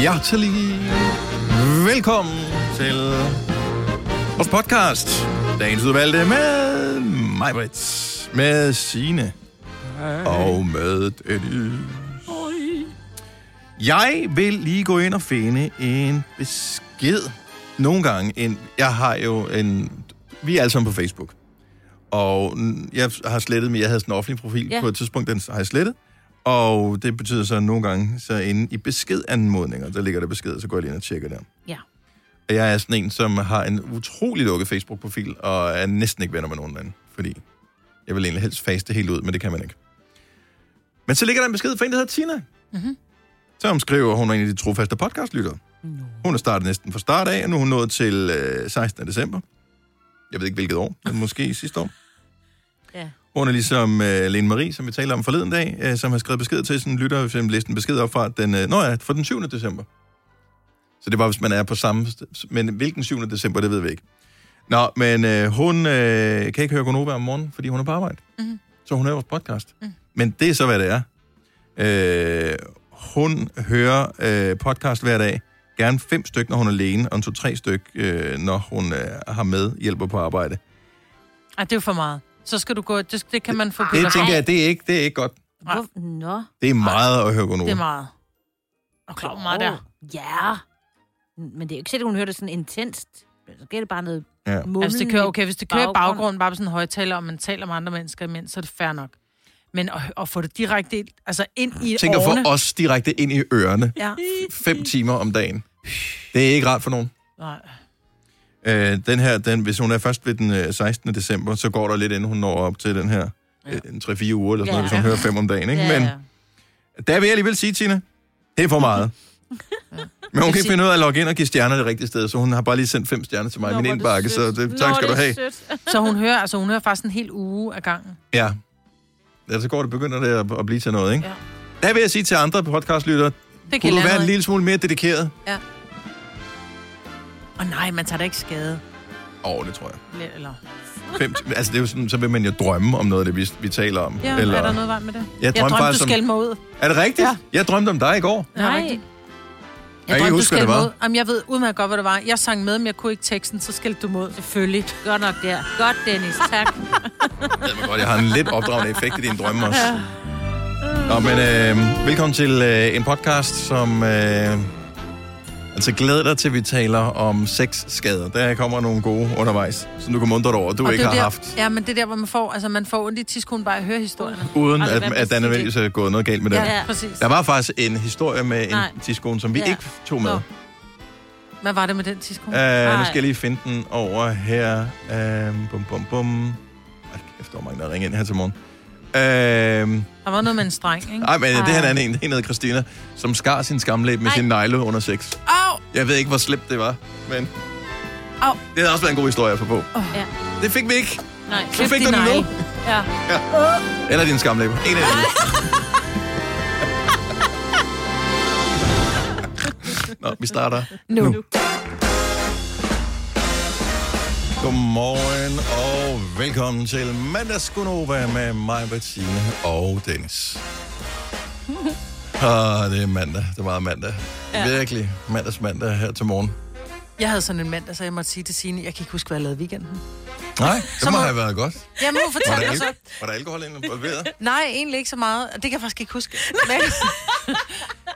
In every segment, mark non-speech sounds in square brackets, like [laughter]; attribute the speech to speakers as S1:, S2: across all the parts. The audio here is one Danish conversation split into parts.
S1: Hjertelig velkommen til vores podcast. Dagens udvalgte med mig, Britt, med Sine og med Dennis. Jeg vil lige gå ind og finde en besked. Nogle gange, en, jeg har jo en... Vi er alle sammen på Facebook. Og mm, jeg har slettet, men jeg havde sådan en offentlig profil
S2: Ja.
S1: ja. på et tidspunkt, den har jeg slettet. Og det betyder så nogle gange, så inde i beskedanmodninger, der ligger der besked, så går jeg lige ind og tjekker der.
S2: Ja.
S1: Og jeg er sådan en, som har en utrolig lukket Facebook-profil, og er næsten ikke venner med nogen anden, fordi jeg vil egentlig helst faste helt ud, men det kan man ikke. Men så ligger der en besked fra en, der hedder Tina,
S2: Mhm.
S1: som skriver, at hun er en af de trofaste podcastlyttere.
S2: Nå.
S1: Hun er startet næsten fra start af, og nu er hun nået til øh, 16. december. Jeg ved ikke, hvilket år, men måske sidste år.
S2: Ja.
S1: Hun er ligesom øh, Lene Marie, som vi talte om forleden dag, øh, som har skrevet besked til sådan en lytter, hvis jeg læste en besked op fra den, øh, nå ja, fra den 7. december. Så det var, hvis man er på samme... st- Men hvilken 7. december, det ved vi ikke. Nå, men øh, hun øh, kan ikke høre Gonova om morgenen, fordi hun er på arbejde.
S2: Mhm.
S1: Så hun hører vores podcast.
S2: Mhm.
S1: Men det er så, hvad det er. Øh, hun hører øh, podcast hver dag. Gerne fem styk, når hun er alene, og en to-tre styk, øh, når hun øh, har med hjælper på arbejde.
S3: Ej, det er jo for meget. Så skal du gå... Det, det kan man
S2: Ah,
S3: få
S1: Det
S3: piller.
S1: tænker jeg, det er ikke, det er ikke godt.
S2: Hvor, nå.
S1: Det er meget at høre Gonova.
S3: Det er meget. Og klar, hvor meget der.
S2: Ja. Men det er jo ikke sikkert, hun hører det sådan intenst. Så giver det bare noget
S1: Ja.
S2: mumlen
S3: Altså, det kører, okay, hvis det kører i
S2: baggrund.
S3: baggrunden, bare på sådan en højtaler, og man taler med andre mennesker imens, så er det fair nok. Men at, at få det direkte ind- altså ind i
S1: Tænk at
S3: årene...
S1: få os direkte ind i ørerne. [laughs]
S3: Ja.
S1: Fem timer om dagen. Det er ikke rart for nogen.
S3: Nej.
S1: Øh, den her, den, hvis hun er først ved den øh, 16. december, så går der lidt, inden hun når op til den her
S3: Ja.
S1: ja. en 3-4 uger, eller sådan
S2: Ja.
S1: noget, hvis hun hører fem om dagen. Ikke? Men der vil jeg alligevel sige, Tina, det er for meget. Men hun kan ikke finde ud af at logge ind og give stjerner det rigtige sted, så hun har bare lige sendt fem stjerner til mig i min indbakke, så det, tak skal du have.
S3: [laughs] Så hun hører, altså, hun hører faktisk en hel uge af gangen.
S1: Ja. ja. så går det, begynder det at, at blive til noget, ikke?
S3: Ja.
S1: Der vil jeg sige til andre podcastlyttere,
S3: Det kan
S1: kunne du
S3: jeg
S1: være en
S3: være lille...
S1: lille smule mere dedikeret?
S3: Og nej, man tager da ikke skade.
S1: Åh, oh, det tror jeg.
S3: Eller,
S1: Fem, altså, det er jo sådan, så vil man jo drømme om noget af det, vi, vi taler om.
S3: ja, Eller... er der noget vej med det?
S1: Jeg
S3: jeg
S1: drømte
S3: drømte,
S1: faktisk
S3: du
S1: om...
S3: skældte mig ud.
S1: Er det rigtigt?
S3: Ja.
S1: Ja. Jeg drømte om dig i går.
S3: Ja,
S2: Nej.
S3: rigtigt.
S1: Jeg kan ikke huske, hvad det var.
S3: mod. Jamen, jeg ved udmærket godt, hvad det var. Jeg sang med, men jeg kunne ikke teksten, så skældte du mod. Selvfølgelig.
S2: Godt nok der. Godt, Dennis. Tak.
S1: Jeg ved godt, jeg har en lidt opdragende effekt i dine drømme også. Nå, men øh, velkommen til øh, en podcast, som... Øh, altså, glæder dig til, at vi taler om sexskader. Der kommer nogle gode undervejs, som du kan mundre dig over, du
S3: Og
S1: ikke
S3: det er
S1: har
S3: der,
S1: haft.
S3: Ja, men det er der, hvor man får, altså man får ondt i tidskolen bare at høre historierne.
S1: Uden
S2: Ej,
S1: at,
S2: hvad
S1: at der
S2: præcis
S1: nødvendigvis er gået noget galt med det.
S3: Ja,
S1: Ja.
S3: ja. præcis.
S1: Der var faktisk en historie med en
S2: Nej.
S1: tidskone, som vi
S2: Ja.
S1: ikke tog med.
S3: Nå. Hvad var det med den
S2: Mm.
S3: tidskone? Ja.
S1: Uh, nu
S2: Nej.
S1: skal jeg lige finde den over her. Uh, bum, bum, bum. Ej, kæft, der var mange, der ringede ind her til morgen. Uh,
S3: Der var noget med en streng, ikke?
S1: ej, men det her er en
S2: Mm. Ej.
S1: anden en, en hedder Christina, som skar sin skamlæb med
S2: Ej.
S1: sin negle under sex.
S3: Au!
S1: Jeg ved ikke, hvor slemt det var, men...
S3: Au.
S1: Det havde også været en god historie at få på.
S2: Ja.
S1: Det fik vi ikke.
S2: Nej.
S1: Du fik
S3: din
S1: den nu.
S3: negle.
S2: Ja.
S1: Eller din skamlæb. En af dem. Nå, vi starter
S3: Nu. nu.
S1: Godmorgen og velkommen til mandagsgunova med mig, Bettina og
S3: [laughs]
S1: Dennis. Ah, det er mandag. Det er meget mandag. Ja. Virkelig mandags mandag her til morgen.
S3: Jeg havde sådan en mandag, så jeg måtte sige til Signe, jeg kan ikke huske, hvad jeg lavede i weekenden.
S1: Nej, det må
S3: må-
S1: have været godt.
S3: Jamen, hun
S1: Var
S3: fortalte
S1: der,
S3: mig så.
S1: al- var der alkohol involveret?
S3: Nej, egentlig ikke så meget. og Det kan jeg faktisk ikke huske. Men,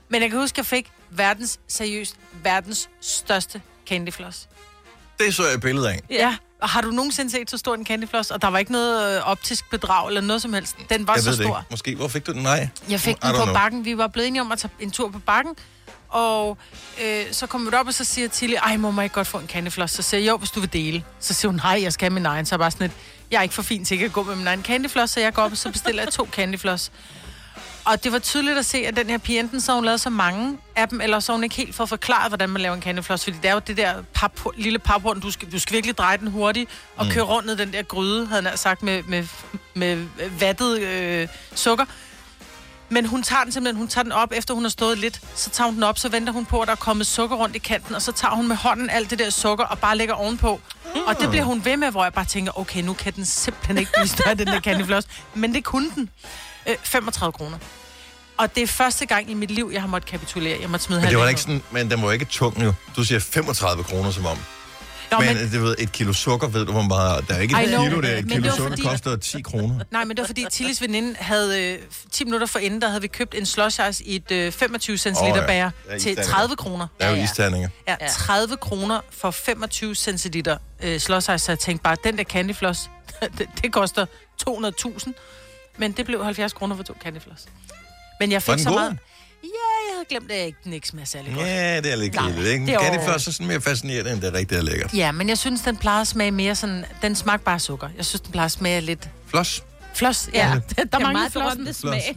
S3: men jeg kan huske, at jeg fik verdens, seriøst, verdens største candyfloss.
S1: Det så jeg et billede af.
S3: Ja. Og har du nogensinde set så stor en candyfloss? Og der var ikke noget øh, optisk bedrag eller noget som helst. Den var
S1: Jeg
S3: så
S1: ved det
S3: stor.
S1: ikke. Måske, hvor fik du den? Nej.
S3: Jeg fik
S1: I
S3: den
S1: don't
S3: på
S1: know.
S3: bakken. Vi var blevet enige om at tage en tur på bakken. Og øh, så kommer vi op, og så siger Tilly, ej, må man ikke godt få en kandeflos? Så siger jeg, jo, hvis du vil dele. Så siger hun, nej, jeg skal have min egen. Så er jeg bare sådan lidt, jeg er ikke for fin til ikke at gå med min egen kandeflos, så jeg går op, og så bestiller jeg to kandeflos. Og det var tydeligt at se, at den her pige, enten så har hun lavet så mange af dem, eller så har hun ikke helt fået forklaret, hvordan man laver en kandeflos. Fordi det er jo det der pap, lille paphorn, du skal, du skal virkelig dreje den hurtigt, og mm. køre rundt ned den der gryde, havde han nær sagt, med, med, med vattet øh, sukker. Men hun tager den simpelthen, hun tager den op, efter hun har stået lidt, så tager hun den op, så venter hun på, at der er kommet sukker rundt i kanten, og så tager hun med hånden alt det der sukker og bare lægger ovenpå. Og det bliver hun ved med, hvor jeg bare tænker, okay, nu kan den simpelthen ikke blive større, den der candyfloss. Men det kunne den. Øh, 35 kroner. Og det er første gang i mit liv, jeg har måttet kapitulere. Jeg måtte smide
S1: Men det var da
S3: halvdelen
S1: ikke sådan, men den var ikke tung jo. Du siger 35 kroner som om.
S3: Nå,
S1: men,
S3: men-
S1: men, det ved, et kilo sukker, ved du, hvor meget... Der er ikke
S3: I
S1: et
S3: know,
S1: kilo, det er.
S3: men
S1: Et
S3: det
S1: kilo
S3: var
S1: sukker
S3: fordi-
S1: koster 10 kroner.
S3: Nej, men det var fordi Tillis veninde havde øh, 10 minutter forinden, der havde vi købt en slush ice i et øh, 25 cl
S1: Åh, ja.
S3: oh, bærer
S1: Ja,
S3: til
S1: isterninger.
S3: 30 kroner.
S1: Der er jo
S2: Ja, ja.
S1: isterninger.
S3: Ja,
S2: Ja.
S3: 30 kroner for 25 cl øh, slush ice, så jeg tænkte bare, den der candyfloss, [laughs] det, det koster 200.000, men det blev 70 kroner for to candyfloss. Men jeg
S1: Var
S3: fik
S1: den
S3: så
S1: god?
S3: meget... Ja, jeg havde glemt, at jeg ikke- den ikke smager særlig godt.
S1: Ja, det er lidt
S3: Nej,
S1: kedeligt, ikke?
S3: det
S1: Kan det
S3: er overhovedet-
S1: først så sådan mere fascinerende, end det er rigtig er lækkert?
S3: Ja, men jeg synes, den plejer at smage mere sådan... Den smagte bare af sukker. Jeg synes, den plejer at smage lidt...
S1: Floss.
S3: Floss, ja. ja. Der
S2: Der er
S3: mangler
S2: meget
S3: flossen.
S2: berømte smag.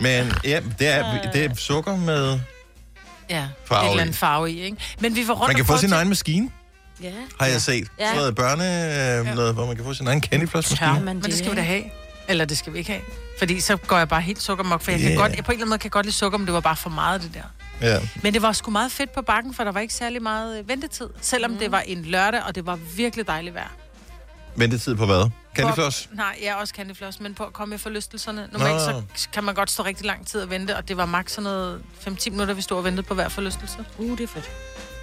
S1: Men ja, det
S3: Øh.
S1: er, det er sukker med...
S3: Ja,
S1: Farve
S3: farve et
S1: i.
S3: eller andet farve i, ikke? Men vi var rundt
S1: Man kan
S3: og
S1: få
S3: prøve
S1: sin
S3: at-
S1: egen maskine,
S2: ja.
S1: har jeg set.
S2: Ja.
S1: Sådan noget børne... Øh, noget, hvor man kan få sin egen candyfloss-maskine.
S3: Ja,
S2: man
S3: men
S2: det,
S3: det skal vi da have. Eller det skal vi ikke have. Fordi så går jeg bare helt sukkermok, for jeg
S1: Ja.
S3: kan godt, jeg på en eller anden måde kan jeg godt lide sukker, men det var bare for meget, det der.
S1: Ja.
S3: Men det var sgu meget fedt på bakken, for der var ikke særlig meget øh, ventetid. Selvom mm. det var en lørdag, og det var virkelig dejligt vejr.
S1: Ventetid på hvad? Candyfloss?
S3: På- Nej, jeg er også candyfloss, men på at komme i forlystelserne.
S1: Nå.
S3: Normalt så kan man godt stå rigtig lang tid og vente, og det var maks sådan noget 5-10 minutter, vi stod og ventede på hver forlystelse.
S2: Uh, det er fedt.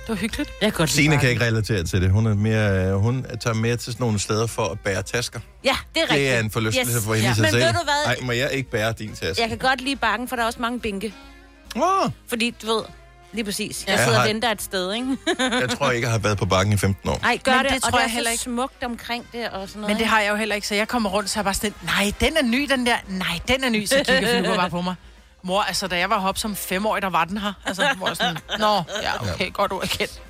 S3: Det var hyggeligt.
S2: Jeg kan godt lide
S1: Signe kan
S2: bakken.
S1: ikke relatere til det. Hun, er mere, øh, hun tager mere til sådan nogle steder for at bære tasker.
S2: Ja, det er rigtigt.
S1: Det er en forlystelse yes. for hende i
S2: ja.
S1: sig
S2: Men
S1: selv.
S2: ved du hvad?
S1: Ej, må jeg ikke bære din taske?
S2: Jeg kan godt lide bakken, for der er også mange bænke.
S1: Åh,
S2: Fordi, du ved, lige præcis. Jeg
S1: Ja,
S2: sidder
S1: har-
S2: og venter et sted, ikke?
S1: jeg tror ikke, jeg har været på bakken i 15 år.
S2: Nej, gør
S3: Men
S2: det,
S3: det
S2: og
S3: tror
S2: det
S3: jeg
S2: er
S3: heller
S2: så
S3: ikke.
S2: smukt omkring det og sådan noget.
S3: Men det har jeg jo heller ikke, så jeg kommer rundt, så er jeg bare sådan, lidt, nej, den er ny, den der, nej, den er ny, så kigger Filippa bare på mig. Mor, altså, da jeg var heroppe som femårig, der var den her. Altså, mor er sådan, nå, ja, okay, godt ord kendt.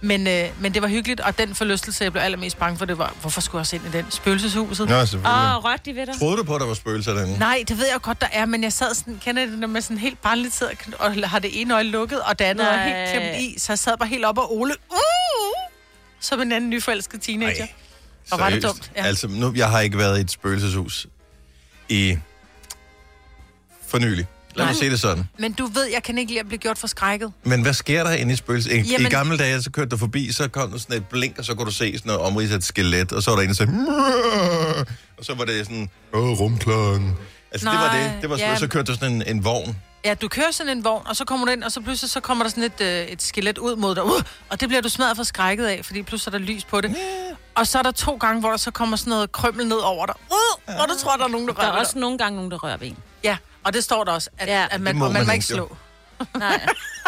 S3: Men, øh, men det var hyggeligt, og den forlystelse, jeg blev allermest bange for, det var, hvorfor skulle jeg også ind i den? Spøgelseshuset?
S1: Nå, selvfølgelig.
S2: Åh,
S1: Oh.
S2: oh, rørt de ved dig.
S1: Troede du på, at der var spøgelser derinde?
S3: Nej, det ved jeg godt, der er, men jeg sad sådan, kender I det, når man sådan helt barnligt sidder og har det ene øje lukket, og det andet er
S2: Nej.
S3: helt klemt i, så jeg sad bare helt op og Ole, uh, som en anden nyforelsket teenager.
S1: Ej,
S3: Og var det
S1: seriøst.
S3: dumt, ja.
S1: Altså, nu, jeg har ikke været i et spøgelseshus i for nylig. Lad mig
S3: Nej.
S1: se det sådan.
S3: Men du ved, jeg kan ikke lide at blive gjort forskrækket.
S1: Men hvad sker der inde i spøgelses? I, Jamen... I
S3: Jamen-
S1: gamle dage, så kørte du forbi, så kom der sådan et blink, og så kunne du se sådan noget omrids af et skelet, og så var der en, der sagde... "Mmm." "Mrrr!" [laughs] Og så var det sådan... Åh, rumklokken. Altså, Nej, det var
S3: Nej,
S1: det. det var,
S3: ja.
S1: Så kørte der sådan en, en vogn.
S3: [laughs] Ja, du kører sådan en vogn, og så kommer du ind, og så pludselig så kommer der sådan et, øh, et skelet ud mod dig, uh, og det bliver du smadret for skrækket af, fordi pludselig er der lys på det. Og så er der to gange, hvor der så kommer sådan noget krømmel ned over dig, uh, og du tror, der er nogen, der
S2: Der
S3: rører
S2: er
S3: ved
S2: også nogle gange nogen, der rører ved en.
S3: dig. Ja, og det står der også, at,
S2: Ja.
S3: ja, at
S1: Det
S3: man,
S1: må
S3: må, man
S1: man
S3: må ikke
S1: ikke, jo.
S3: slå.
S2: Nej,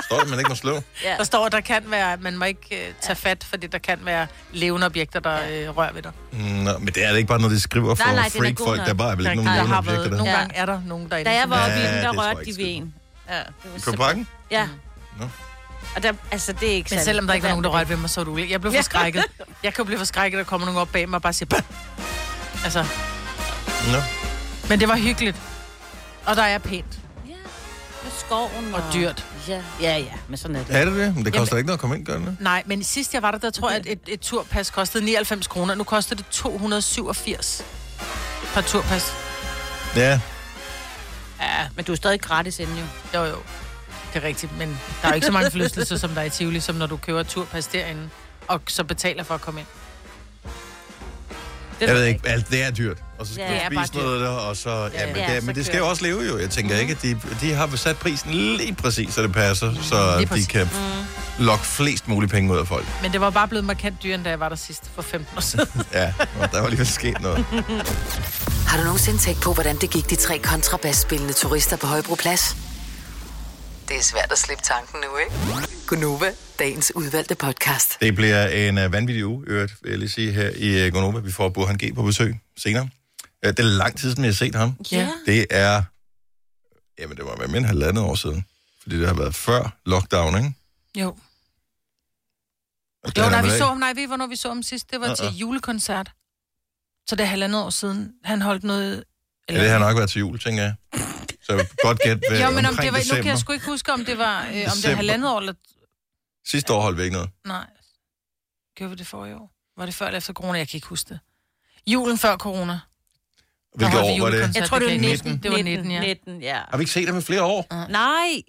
S1: Står der, man ikke må slå?
S2: ja.
S3: Der står, at der kan være, at man må ikke øh, tage fat, fordi der kan være levende objekter, der øh, rører ved dig.
S1: Nå, men det er det ikke bare noget, de skriver for
S2: Nej, nej, den er god
S1: freak-folk.
S2: nok.
S1: Der er bare vel
S3: Der, er
S1: ikke
S3: ikke,
S1: nogen
S3: der har
S1: levende
S3: været,
S1: objekter
S3: nogle
S1: der.
S2: Ja.
S3: gange er ligesom der nogen derinde.
S2: Da jeg var oppe i
S1: Ja,
S2: den,
S1: det
S2: der
S1: tror jeg
S2: rørte de
S1: ikke
S2: ved
S1: skidt.
S2: en. Ja, det var
S1: På
S2: simpelthen-
S1: bakken?
S2: Ja.
S1: Nå.
S2: Og der, altså, det er ikke
S3: Men
S2: sandt.
S3: selvom der ikke var
S2: Lad
S3: nogen, der rørte ved mig, så var du ulig. Jeg blev
S2: Ja. [laughs]
S3: forskrækket. Jeg kan jo blive forskrækket, der kommer nogen op bag mig og bare siger... "Bah!" Altså,
S1: Nå.
S3: men det var hyggeligt. Og der er pænt
S2: Ja, med skoven
S3: og dyrt.
S2: Ja, ja, ja, men sådan er det.
S1: Er det det? Men det koster ikke noget at komme ind, gør det?
S3: Nej, men sidst jeg var der, der tror jeg, at et, et turpas kostede 99 kroner. Nu koster det 287 per turpas.
S1: Ja.
S2: Ja, men du er stadig gratis inde jo.
S3: Jo, jo. Det er rigtigt, men der er jo ikke så mange forlystelser, som der er i Tivoli, som når du køber et turpas derinde, og så betaler for at komme ind.
S2: Det
S1: Jeg ved ikke, alt det er dyrt. Og så skal
S2: Ja,
S1: ja,
S3: det er
S1: du
S3: bare
S1: spise noget der, og så... Ja, men,
S2: Ja,
S1: det,
S2: så
S1: men det skal
S2: kører
S1: jo også leve jo. Jeg tænker ikke, at de, de har sat prisen lige præcis, så det passer, så
S3: Lige
S1: de
S3: præcis. Mhm. Mm.
S1: kan lokke flest mulige penge ud af folk.
S3: Men det var bare blevet markant dyrere, end da jeg var der sidst for 15 år siden.
S1: Ja, og der var lige sket noget.
S4: Har du nogensinde tænkt på, hvordan det gik de tre kontrabasspillende turister på Højbroplads? Det er svært at slippe tanken nu, ikke? Gunova, dagens udvalgte podcast.
S1: Det bliver en uh, vanvittig uge, i øvrigt, vil jeg lige sige her i uh, Gonova. Vi får Burhan G på besøg senere. Uh, det er lang tid, siden jeg har set ham.
S2: Ja.
S1: Det er... Jamen, det må være mindre end halvandet år siden. Fordi det har været før lockdown, ikke?
S3: Jo.
S1: Og det
S3: Jo,
S1: er
S3: nej,
S1: der
S3: vi
S1: vel
S3: så
S1: ikke.
S3: ham, nej, ved I, hvornår vi så ham sidst? Det var
S1: Uh-uh.
S3: uh-uh. til julekoncert. Så det er halvandet år siden. Han holdt noget...
S1: Ja, det har nok været til jul, tænker jeg. Så
S3: [laughs]
S1: godt gæt, hvad
S3: jo, men om
S1: omkring
S3: det var, nu kan
S1: december.
S3: jeg sgu ikke huske, om det var øh, om det
S1: December.
S3: er halvandet år, eller...
S1: Sidste år holdt vi ikke noget.
S3: Nej. Gjorde vi det for i år? Var det før eller efter corona? Jeg kan ikke huske det. Julen før corona.
S1: Hvilket
S3: holdt vi
S1: år var det?
S3: julekoncert.
S2: Jeg tror, det var
S1: 19.
S2: 19.
S3: Det var 19, ja.
S2: 19, ja.
S1: Har vi ikke set ham i flere år?
S2: Nej.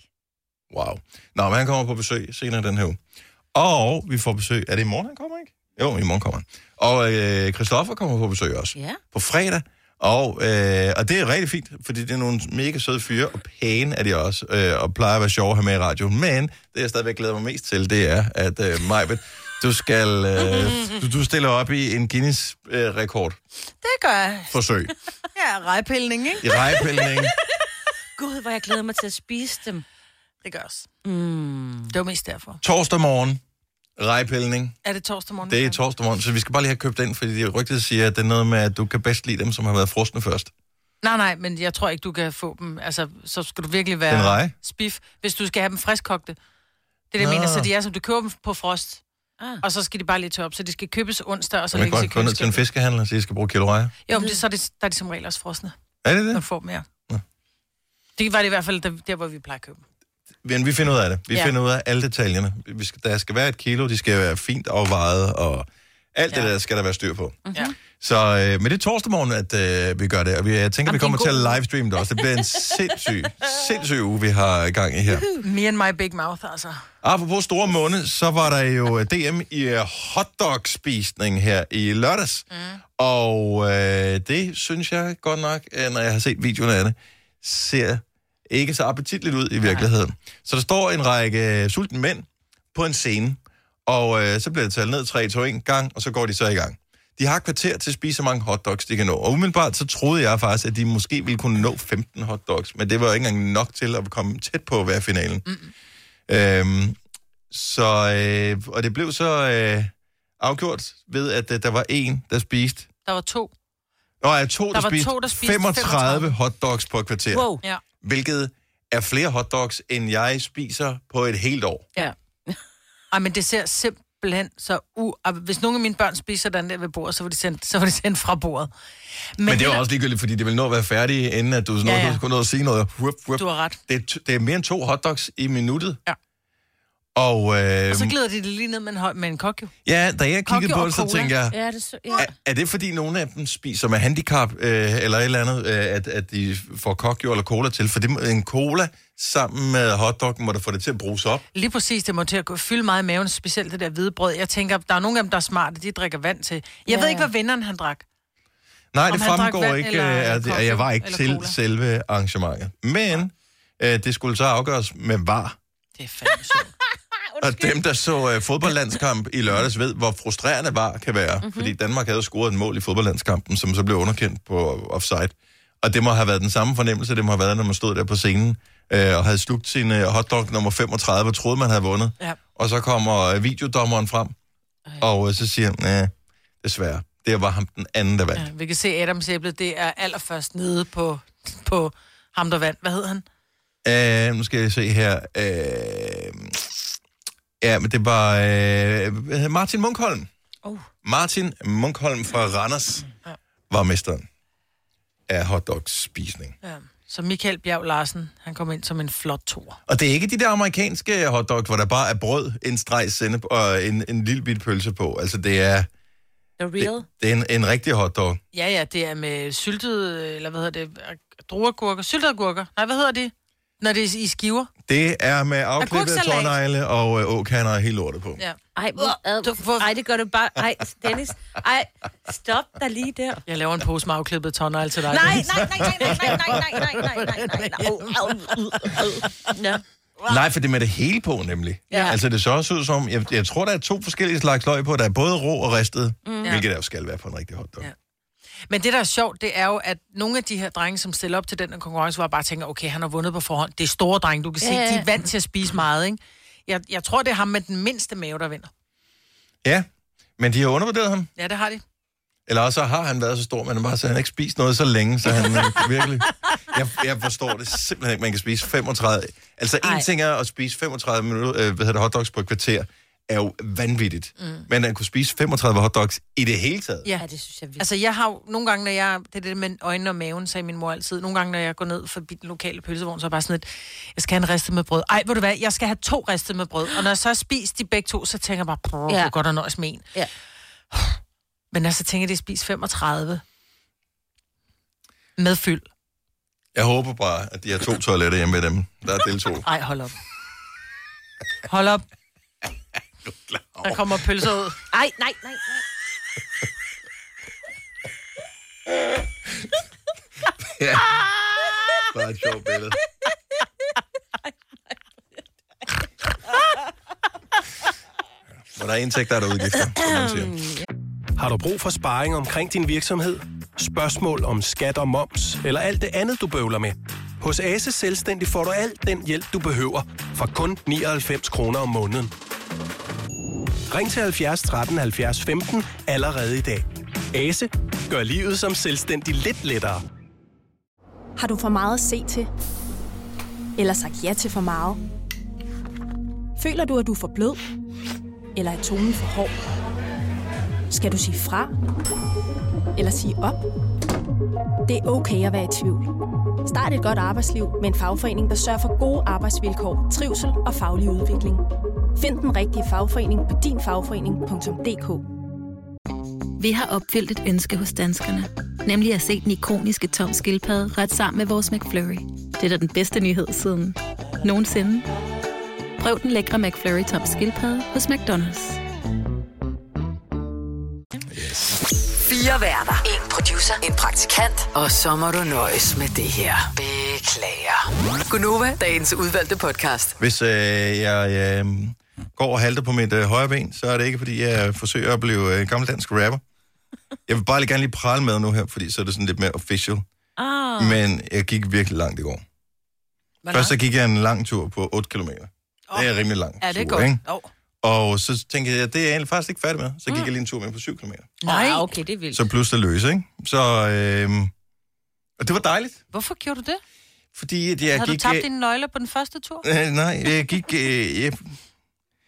S1: Wow. Nå, men han kommer på besøg senere den her uge. Og vi får besøg... Er det i morgen, han kommer, ikke? Jo, i morgen kommer han. Og øh, Christoffer kommer på besøg også.
S2: Ja.
S1: På fredag. Og, øh, og det er rigtig fint, fordi det er nogle mega søde fyre, og pæne er de også, øh, og plejer at være sjove at have med i radioen. Men det, jeg stadigvæk glæder mig mest til, det er, at øh, Majbet, du skal øh, du, du stiller op i en øh, Guinness-rekord
S3: Det gør jeg.
S1: forsøg
S3: [laughs] Ja, rejpilning, ikke?
S1: i
S3: [laughs]
S1: rejepilning.
S2: Gud, hvor jeg glæder mig til at spise dem.
S3: Det gør jeg også.
S2: Mm.
S3: Det var mest derfor.
S1: Torsdag morgen, rejepilning.
S3: Er det torsdag morgen?
S1: Det er torsdag morgen, så vi skal bare lige have købt ind, fordi rygtet siger, at det er noget med, at du kan bedst lide dem, som har været frosne først.
S3: Nej, nej, men jeg tror ikke, du kan få dem. Altså, så skal du virkelig være
S1: Den reje?
S3: spif, hvis du skal have dem friskkogte. Det er det,
S1: Nå.
S3: jeg mener, så de er, som du køber dem på frost.
S2: Ah.
S3: Og så skal de bare lige tørre op, så de skal købes onsdag, og så
S1: Så man
S3: lægges i
S1: går kun ned til en
S3: køleskabet.
S1: fiskehandler og siger, at jeg skal bruge kilo rejer.
S3: Jo, men det, så er det, der er de som regel også frosne,
S1: Er det
S3: når
S1: det?
S3: du får dem, ja.
S1: Nå.
S3: Det var det i hvert fald der, der hvor vi plejer at købe dem.
S1: Men vi finder ud af det. Vi ja.
S3: Ja.
S1: finder ud af alle detaljerne. Vi skal, der skal være et kilo, de skal være fint afvejet, og alt ja. det
S3: Ja.
S1: der skal der være styr på.
S2: Mhm.
S3: Ja.
S1: Så øh, men det er torsdag morgen, at øh, vi gør det, og vi, jeg tænker,
S3: Jamen,
S1: vi
S3: det er
S1: kommer
S3: en
S1: til at
S3: god-
S1: livestreame det også. Det
S3: [laughs]
S1: bliver en sindssyg, sindssyg uge, vi har gang i her.
S3: Me and my big mouth, altså.
S1: Apropos store måned, så var der jo øh, DM i øh, hotdog-spisning her i lørdags. Mm. Og øh, det synes jeg godt nok, øh, når jeg har set videoerne af det, ser ikke så appetitligt ud i virkeligheden. Nej. Så der står en række øh, sultne mænd på en scene, og øh, så bliver det talt ned 3, 2, 1 gang, og så går de så i gang. De har et kvarter til at spise så mange hotdogs, de kan nå. Og umiddelbart så troede jeg faktisk, at de måske ville kunne nå 15 hotdogs, men det var jo ikke engang nok til at komme tæt på at være i finalen. Øhm, så, øh, og det blev så øh, afgjort ved, at øh, der var en, der spiste...
S3: Der var to.
S1: Nå, ja, to, der,
S3: var
S1: spiste,
S3: to, der spiste
S1: 35,
S3: 35
S1: hotdogs på et kvarter.
S2: Wow.
S3: Ja.
S1: Hvilket er flere hotdogs, end jeg spiser på et helt år.
S3: ja. [laughs] Ej, men det ser simpelthen så u... Ej, Hvis nogle af mine børn spiser den der ved bordet, så var de sendt, så var de sendt fra bordet. Men,
S1: Men det er
S3: heller-
S1: jo også ligegyldigt, fordi det vil nå at være færdig, inden at du, ja,
S3: Ja,
S1: ja.
S3: ja.
S1: du skulle nå at sige noget. Whip, whip.
S3: Du har ret.
S1: Det, er t- det er mere end to hotdogs i minuttet.
S3: Ja.
S1: Og, øh,
S3: Og så glider de det lige ned med en, høj, med en kok, jo.
S1: ja, da jeg kiggede
S3: Kokke
S1: på
S3: og
S1: det, så
S3: cola.
S1: tænkte jeg,
S2: Ja, det så, ja.
S1: Er, er det fordi nogle af dem spiser med handicap øh, eller et eller andet, øh, at, at de får kokjo eller cola til? For det, må- en cola sammen med hotdog må da få det til at bruges op.
S3: Lige præcis, det må til at gå, fylde meget i maven, specielt det der hvide brød. Jeg tænker, der er nogle af dem, der er smarte, de drikker vand til. Jeg
S2: Ja,
S3: ja, ved ikke,
S2: ja.
S3: hvad vinderen han drak.
S1: Nej,
S3: Om
S1: det
S3: han drak
S1: fremgår
S3: vand
S1: ikke,
S3: eller
S1: øh, at, at jeg var
S3: cocktail
S1: ikke
S3: eller
S1: til
S3: cola.
S1: selve arrangementet. Men øh, det skulle så afgøres med var.
S3: Det er fandme sjovt.
S1: Og dem, der så øh, fodboldlandskamp i lørdags, ved, hvor frustrerende var kan være.
S3: Mhm.
S1: Mm-hmm. Fordi Danmark havde scoret et mål i fodboldlandskampen, som så blev underkendt på offside. Og det må have været den samme fornemmelse, det må have været, når man stod der på scenen øh, og havde slugt sin øh, hotdog nummer 35 og troede, man havde vundet.
S3: Ja.
S1: Og så kommer øh, videodommeren frem, og øh, så siger han, "Næh, desværre, det var ham den anden, der vandt.
S3: Ja, vi kan se Adams æble, det er allerførst nede på, på ham, der vandt. Hvad hed han?
S1: Øh, nu skal jeg se her. Øh, ja, men det var øh, hvad hedder Martin Munkholm.
S2: Oh.
S1: Martin Munkholm fra Randers var mesteren af hotdogspisning.
S3: Ja. Så Michael Bjerg Larsen, han kom ind som en flot toer.
S1: Og det er ikke de der amerikanske hotdogs, hvor der bare er brød, en streg sennep og en, en lille bit pølse på. Altså, det er,
S2: The real.
S1: det, det er en, en rigtig hotdog.
S3: Ja, ja, det er med syltede, eller hvad hedder det, druergurker, syltede gurker. Nej, hvad hedder det? Når det er i skiver.
S1: Det er med afklippet
S3: Agurksalat.
S1: tårnegle og øh, åkander og helt lortet på.
S3: Ja.
S2: Ej, hvor, ad,
S3: du- hvor-
S2: ej, det gør du bare. Ej, Dennis. Ej, stop dig lige der.
S3: Jeg laver en pose med afklippet tårnegl til dig.
S2: Nej, nej, nej, nej, nej, nej, nej, nej, nej, nej, nej, nej, nej. Au, au, au, au. Ja.
S1: Nej, for det er med det hele på, nemlig. Ja.
S2: Ja.
S1: Altså, det så også ud som... Jeg, jeg tror, der er to forskellige slags løg på. Der er både rå og ristet, mm. hvilket der jo skal være på en rigtig hotdog. Ja.
S3: Ja. Men det, der er sjovt, det er jo, at nogle af de her drenge, som stiller op til den her konkurrence, hvor jeg bare tænker, okay, han har vundet på forhånd. Det er store drenge, du kan se,
S2: Ja, ja.
S3: de er vant til at spise meget, ikke? Jeg, jeg tror, det er ham med den mindste mave, der vinder.
S1: ja. Men de har undervurderet ham.
S3: Ja, det har de.
S1: Eller også har han været så stor, men han bare så han har ikke spist noget så længe, så han [laughs] øh, virkelig... Jeg, jeg forstår det simpelthen ikke, man kan spise 35... Altså, en
S2: Ej.
S1: ting er at spise 35 minutter, øh, hvad hedder det, hotdogs på et kvarter, er jo vanvittigt. Mm. Men at kunne spise 35 hotdogs i det hele taget,
S2: ja, det synes jeg virkelig.
S3: Altså, jeg har jo nogle gange, når jeg... Det er det med øjnene og maven, sagde min mor altid. Nogle gange, når jeg går ned forbi den lokale pølsevogn, så er jeg bare sådan et... Jeg skal have en ristet med brød. Ej, ved du hvad? Jeg skal have to ristet med brød. Og når jeg så har spist de begge to, så tænker jeg bare... Prøv,
S2: Ja.
S3: ja. godt at nøjes med en.
S2: Ja.
S3: Men altså, tænker jeg, det er spist 35. Med fyld.
S1: jeg håber bare, at de har to toiletter hjemme med dem, der deltog.
S3: Ej, hold op. Hold op. Der kommer pølser ud.
S2: Ej, nej, nej, nej.
S1: Ja. Bare et sjovt billede. Hvor der er indtægter, er der udgifter, som man siger.
S5: Har du brug for sparring omkring din virksomhed? Spørgsmål om skat og moms, eller alt det andet, du bøvler med? Hos Ase Selvstændig får du alt den hjælp, du behøver, for kun 99 kroner om måneden. Ring til 70 13 70 15 allerede i dag. Ase gør livet som selvstændig lidt lettere.
S6: Har du for meget at se til? Eller sagt ja til for meget? Føler du, at du er for blød? Eller er tonen for hård? Skal du sige fra? Eller sige op? Det er okay at være i tvivl. Start et godt arbejdsliv med en fagforening, der sørger for gode arbejdsvilkår, trivsel og faglig udvikling. Find den rigtige fagforening på dinfagforening.dk.
S7: Vi har opfyldt et ønske hos danskerne. Nemlig at se den ikoniske tom skildpadde ret sammen med vores McFlurry. Det er da den bedste nyhed siden nogensinde. Prøv den lækre McFlurry tom skildpadde hos McDonald's.
S4: Fire værter. En producer. En praktikant. Og så må du nøjes med det her. Beklager. Gunova, dagens udvalgte podcast.
S1: Hvis øh, jeg øh, går og halter på mit øh, højre ben, så er det ikke, fordi jeg forsøger at blive øh, gammeldansk rapper. Jeg vil bare lige gerne lige prale med nu her, fordi så er det sådan lidt mere official.
S2: Ah.
S1: Men jeg gik virkelig langt i går. Først så gik jeg en lang tur på 8 km. Det er rimelig lang
S3: Ja, det er
S1: tur,
S3: godt.
S1: ikke?
S3: Oh.
S1: Og så tænkte jeg, det er jeg egentlig faktisk ikke færdig med. Så gik
S3: Mm.
S1: jeg lige en tur med på 7 km.
S3: Nej,
S2: Ah, okay, det er vildt.
S1: Så pludselig løs, ikke? Så, øh, og det var dejligt,
S3: hvorfor gjorde du det?
S1: fordi at jeg
S3: Har du
S1: gik...
S3: tabt
S1: øh,
S3: dine nøgler på den første tur? Mm.
S1: Øh, nej, jeg gik... Øh, jeg...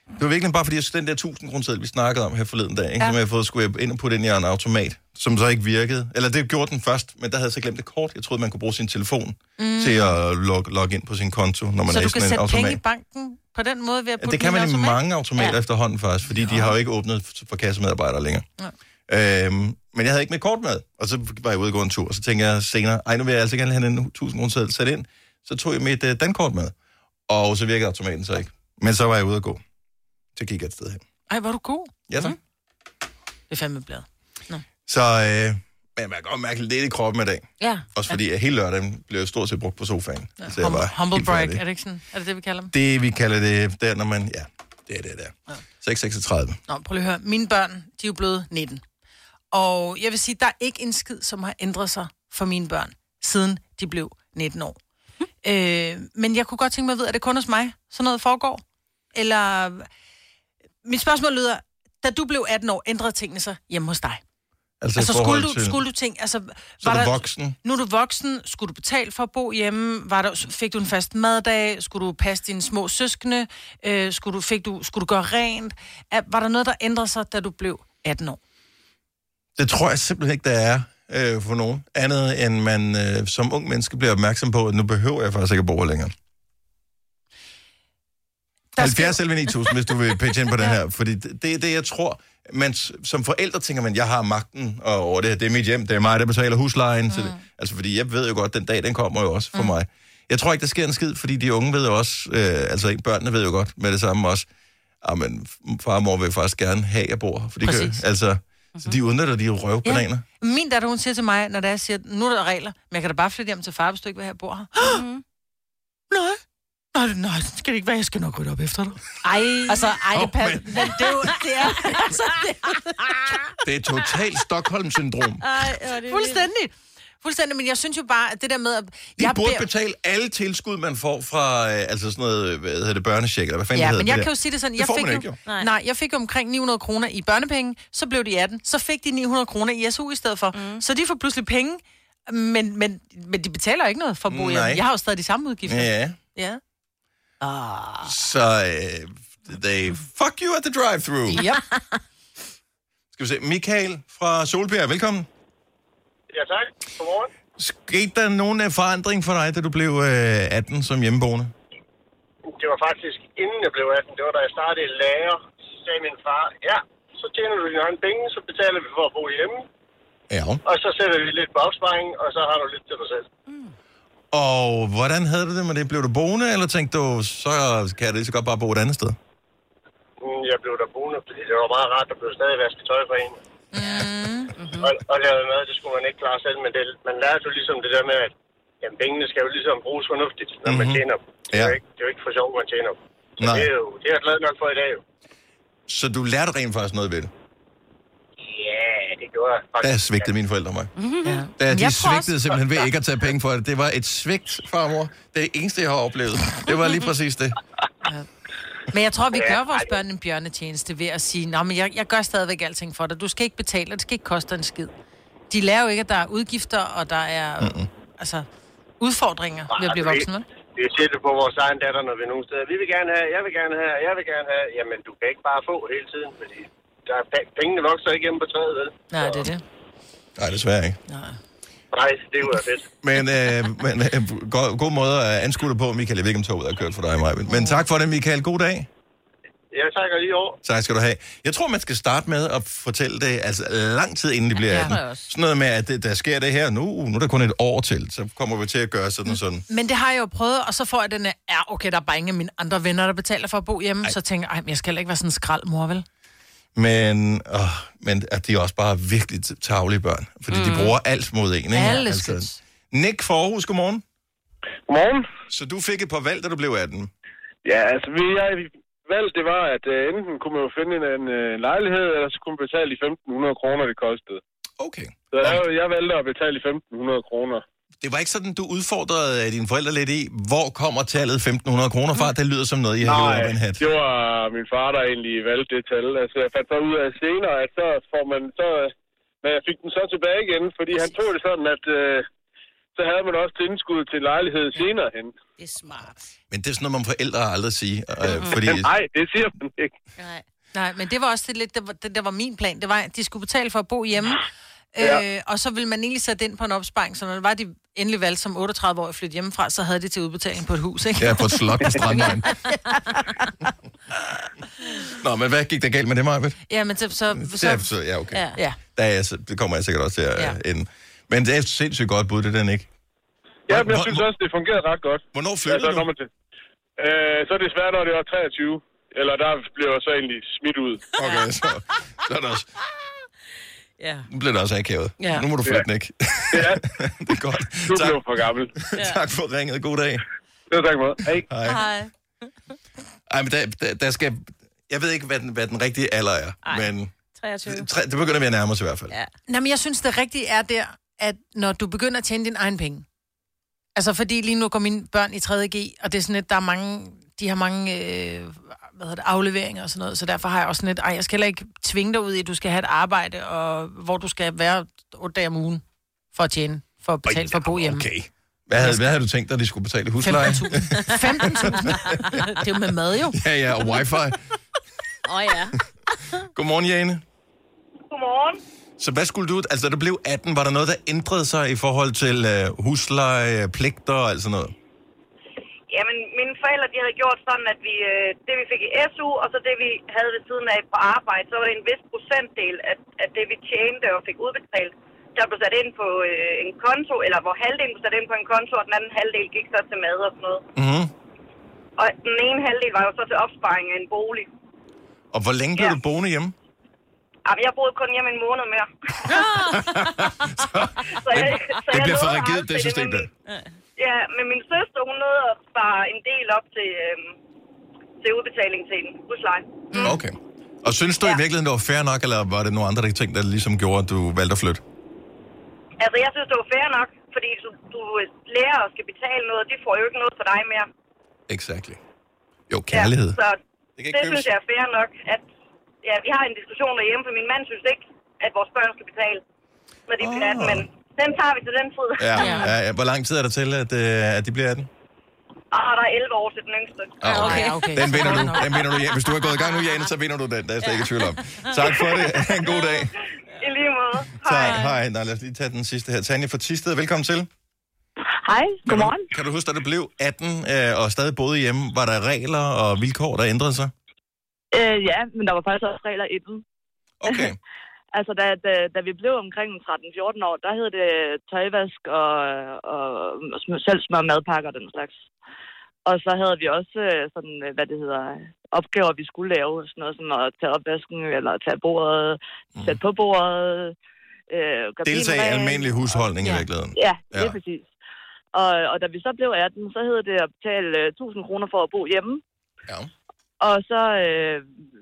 S1: Det var virkelig bare fordi, jeg synes, den der 1000 kroner seddel, vi snakkede om her forleden dag, ikke? Ja.
S3: Ja.
S1: som jeg havde fået, skulle jeg ind og putte ind i en automat, som så ikke virkede. Eller det gjorde den først, men der havde jeg så glemt et kort. Jeg troede, man kunne bruge sin telefon mm. til at logge log ind på sin konto, når man
S3: Så
S1: er i
S3: du kan
S1: sådan en
S3: sætte
S1: automat.
S3: penge i banken på den måde ved at
S1: Ja,
S3: putte
S1: det kan
S3: den i
S1: man i
S3: automat?
S1: mange automater ja. efterhånden faktisk, fordi de har jo ikke åbnet f- for kassemedarbejdere længere. Ja. Øhm, men jeg havde ikke mit kort med, og så var jeg ude og gå en tur, og så tænkte jeg senere, ej, nu vil jeg altså gerne have en 1000 kroner seddel sat ind. Så tog jeg mit uh, dankort med, og så virkede automaten så ikke. Men så var jeg ude og gå. Så gik jeg et sted hen.
S3: Ej, var du god.
S1: Ja, så. Mm.
S3: Det er fandme blad.
S1: Så øh, men man kan godt mærke lidt i kroppen i dag.
S2: Ja.
S1: Også fordi at hele lørdagen blev jeg stort set brugt på sofaen. Ja. Så jeg
S3: Humble,
S1: var
S3: humble
S1: helt
S3: brag,
S1: færdig.
S3: er det ikke sådan? Er det det, vi kalder dem?
S1: Det, vi kalder det, der når man... Ja, det er det der. Ja. 6.36.
S3: Nå, prøv lige at høre. Mine børn, de er jo blevet 19. Og jeg vil sige, der er ikke en skid, som har ændret sig for mine børn, siden de blev 19 år. øh, men jeg kunne godt tænke mig at vide, er det kun hos mig, sådan noget foregår? Eller... Mit spørgsmål lyder, da du blev 18 år, ændrede tingene sig hjemme hos dig?
S1: Altså, i
S3: Altså,
S1: forhold
S3: skulle du,
S1: til-
S3: skulle du tænke... Altså,
S1: Så er du voksen.
S3: Nu er du voksen. Skulle du betale for at bo hjemme? Var der, fik du en fast maddag? Skulle du passe dine små søskende? Øh, skulle, du, fik du, skulle du gøre rent? Er, var der noget, der ændrede sig, da du blev 18 år?
S1: Det tror jeg simpelthen ikke, der er øh, for nogen. Andet end man øh, som ung menneske bliver opmærksom på, at nu behøver jeg faktisk ikke at bo her længere.
S3: Der
S1: 70
S3: skal-
S1: selv 9000, hvis du vil pitche ind på den her. Fordi det det er det, jeg tror. Man, s- som forældre tænker man, jeg har magten og over det her. Det er mit hjem, det er mig, der betaler huslejen. Mm. Til det. Altså, fordi jeg ved jo godt, den dag, den kommer jo også for mm. mig. Jeg tror ikke, der sker en skid, fordi de unge ved jo også, øh, altså børnene ved jo godt med det samme også, Ah, men far og mor vil faktisk gerne have, at jeg bor her. For de kan,
S3: Præcis.
S1: altså, Så de udnytter de røvbananer. Ja.
S3: Min datter, hun siger til mig, når det er, jeg siger, nu er der regler, men jeg kan da bare flytte hjem til far, hvis du ikke vil have, jeg bor her. nej. Nej, nej, det skal det ikke være. Jeg skal nok rydde op efter dig.
S2: [gasps] Ej.
S3: Altså, ej,
S1: Åh,
S3: oh, pas,
S1: men-
S3: men det er
S2: [laughs]
S3: jo, det er, altså, det er
S1: Det er totalt Stockholm-syndrom.
S2: Ej, hvor er det Fuldstændig.
S3: fuldstændig. Fuldstændig, men jeg synes jo bare, at det der med, at
S1: De
S3: jeg
S1: burde
S3: beder-
S1: betale alle tilskud, man får fra øh, altså sådan noget, øh, hvad hedder det, børnecheck, eller hvad fanden
S3: Ja,
S1: det hedder.
S3: men jeg
S1: det
S3: kan jo
S1: der.
S3: sige det sådan,
S1: Det
S3: jeg
S1: får
S3: fik
S1: man
S3: jo,
S1: ikke, jo.
S2: Nej.
S3: Nej. nej, jeg fik omkring 900 kroner i børnepenge, så blev de 18, så fik de 900 kroner i SU i stedet for. Mm. Så de får pludselig penge, men, men, men de betaler ikke noget for at bo hjemme.
S1: Nej.
S3: Jeg har jo stadig de samme udgifter.
S1: Ja,
S3: ja.
S1: så øh, they fuck you at the drive-thru.
S3: Yep.
S1: [laughs] Skal vi se, Michael fra Solbjerg, velkommen.
S8: Ja, tak. Godmorgen.
S1: Skete der nogen øh, forandring for dig, da du blev øh, 18 som hjemmeboende?
S8: Det var faktisk inden jeg blev 18. Det var da jeg startede i lærer. Så sagde min far, ja, så tjener du dine egne penge, så betaler vi for at bo hjemme.
S1: Ja.
S8: Og så sætter vi lidt på opsparing, og så har du lidt til dig selv. Mm.
S1: Og hvordan havde du det med det? Blev du boende, eller tænkte du, så kan jeg da lige så godt bare bo et andet sted?
S8: Mm, Jeg blev da boende, fordi det var meget rart, der blev stadig vasket tøj for en. Mm. Og, og lavede mad, det skulle man ikke klare selv, men det, man lærte jo ligesom det der med, at
S2: Jamen, pengene skal jo ligesom bruges fornuftigt, når mm-hmm. man tjener dem. Det er,
S1: Ja.
S2: jo ikke, det er jo ikke for sjov, man tjener dem. Så
S1: Nej.
S2: det er, jo, det er jeg glad nok for i dag, jo.
S1: Så du lærte rent faktisk noget ved det.
S2: Ja, det gjorde jeg faktisk.
S1: Der svigtede mine forældre mig.
S9: Ja.
S1: Der,
S3: Jeg
S1: de
S3: får
S1: svigtede
S3: også-
S1: simpelthen ved ikke at tage penge for det. Det var et svigt, farmor. Det er det eneste, jeg har oplevet. Det var lige præcis det.
S3: Men jeg tror, vi gør vores børn en bjørnetjeneste ved at sige, Nå, men jeg, jeg gør stadigvæk alting for dig. Du skal ikke betale, og det skal ikke koste dig en skid. De lærer jo ikke, at der er udgifter, og der er Mm-mm. altså udfordringer ved at blive voksen, vel?
S2: Det er tæt på vores egen datter, når vi er nogen steder. Vi vil gerne have, jeg vil gerne have, jeg vil gerne have. Jamen, du kan ikke bare få hele tiden, fordi der er, pe- pengene vokser ikke hjemme på træet, vel?
S3: Nej, det er det.
S1: Nej, desværre ikke.
S2: Nej, det kunne være fedt.
S1: Men, øh, men øh, god, god måde at anskue det på, Michael. Jeg ved ikke, om toget er kørt for dig, Maja. Men tak for det, Michael. God dag.
S2: Jeg takker lige over.
S1: Tak skal du have. Jeg tror, man skal starte med at fortælle det altså, lang tid inden det bliver
S3: Ja,
S1: 18.
S3: tror jeg også.
S1: Sådan noget med, at det, der sker det her nu. Nu er der kun et år til, så kommer vi til at gøre sådan og sådan.
S3: Men det har jeg jo prøvet, og så får jeg den af, ja, okay, der er bare ingen af mine andre venner, der betaler for at bo hjemme. Ej. Så tænker jeg, "Ej, men jeg skal heller ikke være sådan en skrald, mor, vel?
S1: Men, åh, men at de er også bare virkelig tavlige børn. Fordi mm. de bruger alt mod en. Ikke? Altså,
S3: Alle skidt.
S1: Nick for Aarhus, godmorgen.
S2: Godmorgen.
S1: Så du fik et par valg, da du blev 18.
S2: [laughs] Ja, altså, vi, jeg valgte, det var, at uh, enten kunne man jo finde en, en, øh, lejlighed, eller så kunne man betale de 1.500 kroner, det kostede.
S1: Okay.
S2: Så jeg, jeg valgte at betale de 1.500 kroner.
S1: Det var ikke sådan, du udfordrede øh, dine forældre lidt i, hvor kommer tallet 1.500 kroner fra? Det lyder som noget, I har hævet op af en hat.
S2: det var min far, der egentlig valgte det tal. Altså, jeg fandt så ud af senere, at så får man så... øh, Men jeg fik den så tilbage igen, fordi han tog det sådan, at øh, så havde man også tilskud til lejlighed senere hen.
S9: Det er smart.
S1: Men det er sådan noget, man forældre aldrig sige. Øh, fordi,
S2: [laughs] Nej, det siger man ikke.
S9: Nej.
S3: Nej, men det var også det lidt, det var, det, der var min plan. Det var, at de skulle betale for at bo hjemme. Ja.
S2: Ja.
S3: Øh, og så ville man egentlig sætte ind på en opsparing, så når det var, de endelig valgte som 38 år at flytte hjemmefra, så havde de til udbetaling på et hus, ikke?
S1: ja, på et slot på Strandvejen. Nå, men hvad gik der galt med det, Marvitt?
S3: [laughs] Ja, men så... så,
S1: Ja,
S3: så
S1: så- ja, okay.
S9: Ja.
S3: ja.
S1: Der er jeg, så- det kommer jeg sikkert også til at ja.
S3: Ja.
S1: ende. Men det er et sindssygt godt bud, det der, ikke?
S2: Ja, men jeg synes også, det fungerede ret godt.
S1: Hvornår
S2: Altså,
S1: flyttede
S2: når
S1: du?
S2: man til. Øh, så er det svært, når det var 23. Eller der blev jeg så egentlig smidt ud.
S1: Okay, så, så er der også,
S9: Ja.
S1: nu bliver det også akavet.
S9: Ja.
S1: Nu må du flytte, Nick.
S2: [laughs] Ja,
S1: [laughs] det er godt.
S2: du
S1: Tak,
S2: blev for gammel.
S1: [laughs] tak for ringet. God dag.
S2: Det var tak meget. Hej.
S1: Hej.
S3: Hej.
S1: Ej, men der, der, der skal... Jeg ved ikke, hvad den, hvad den rigtige alder er, Ej. men
S9: 23.
S1: tre, det begynder vi at nærme os i hvert fald. Ja.
S9: Ja.
S3: Nå, men jeg synes, det rigtige er der, at når du begynder at tjene din egen penge. Altså, fordi lige nu går mine børn i 3.G, og det er sådan lidt, der er mange, de har mange øh, hvad hedder det, afleveringer og sådan noget, så derfor har jeg også sådan lidt, ej, jeg skal heller ikke tvinge dig ud i, at du skal have et arbejde, og hvor du skal være otte dage om ugen for at tjene, for at betale for at bo hjemme. [laughs]
S1: Okay. Hvad havde, hvad havde du tænkt dig, de skulle betale i husleje?
S3: 15.000. 15.000. det er jo med mad, jo.
S1: [laughs] Ja, ja, og wifi.
S9: Åh oh, ja.
S1: Godmorgen, Jane.
S10: Godmorgen.
S1: Så hvad skulle du... Altså, da du blev 18, var der noget, der ændrede sig i forhold til øh, husleje, pligter og alt sådan noget?
S10: Jamen, mine forældre de havde gjort sådan, at vi, øh, det vi fik i SU, og så det vi havde ved siden af på arbejde, så var det en vis procentdel af, af det vi tjente og fik udbetalt. Der blev sat ind på øh, en konto, eller hvor halvdelen blev sat ind på en konto, og den anden halvdel gik så til mad og sådan noget.
S1: Mm-hmm.
S10: Og den ene halvdel var jo så til opsparing af en bolig.
S1: Og hvor længe blev
S10: Ja.
S1: du boende hjemme?
S10: Jamen, jeg boede kun hjemme en måned mere. [laughs] så jeg, så
S1: Det
S10: jeg
S1: bliver for
S10: nåede
S1: rigidt,
S10: aldrig
S1: det system
S10: men
S1: der.
S10: min- Ja, men min søster, hun nåede at spare en del op til, øhm, til udbetaling til en husleje.
S1: Okay. Og synes du Mm. ja. i
S10: Ja.
S1: virkeligheden, det var fair nok, eller var det nogle andre der ting, der ligesom gjorde, at du valgte at flytte?
S10: Altså, jeg synes, det var fair nok, fordi du, du lærer og skal betale noget, de får jo ikke noget for dig mere.
S1: Exakt. Jo, kærlighed.
S10: Ja, så
S1: Det kan
S10: det,
S1: ikke købes.
S10: synes jeg er fair nok, at ja, vi har en diskussion derhjemme, for min mand synes ikke, at vores børn skal betale, når de bliver
S1: Åh.
S10: 18, men den tager vi til den tid.
S1: Ah.
S10: [laughs]
S1: Ja. Ja. ja. Hvor lang tid er der til, at, øh, at de bliver 18?
S10: Og der er 11 år til den yngste.
S1: Ah,
S3: okay. Ja, okay.
S1: Den vinder
S3: Fair
S1: du.
S3: nok.
S1: Den vinder du. Ja, hvis du er gået i gang nu, Jane, så vinder du den. Der er jeg slet ikke i tvivl om. Tak for det. Ha' En god dag.
S10: I lige måde.
S1: Tak. Hej. Nå, lad os lige tage den sidste her. Tanja fra Tisted, velkommen til. Kan
S10: Hej,
S1: du, kan du huske, da du blev 18 øh, og stadig boede hjemme, var der regler og vilkår, der ændrede sig?
S10: Øh, ja, men der var faktisk også regler inden.
S1: Okay.
S10: [laughs] Altså, da, da, da vi blev omkring 13-14 år, der hed det tøjvask og, og, og sm- selv smør madpakker og den slags. Og så havde vi også øh, sådan, øh, hvad det hedder, opgaver, vi skulle lave. Sådan noget som at tage opvasken, eller tage bordet, mm. sætte på bordet. Øh, gøre
S1: Deltag i
S10: bilrent.
S1: almindelig husholdning Mhm. i
S3: Ja.
S1: virkeligheden.
S10: Ja, det
S1: Ja.
S10: er præcis.
S11: Og, og da vi så blev 18, så hed det at betale øh, 1000 kroner for at bo hjemme.
S1: Ja.
S11: Og så øh,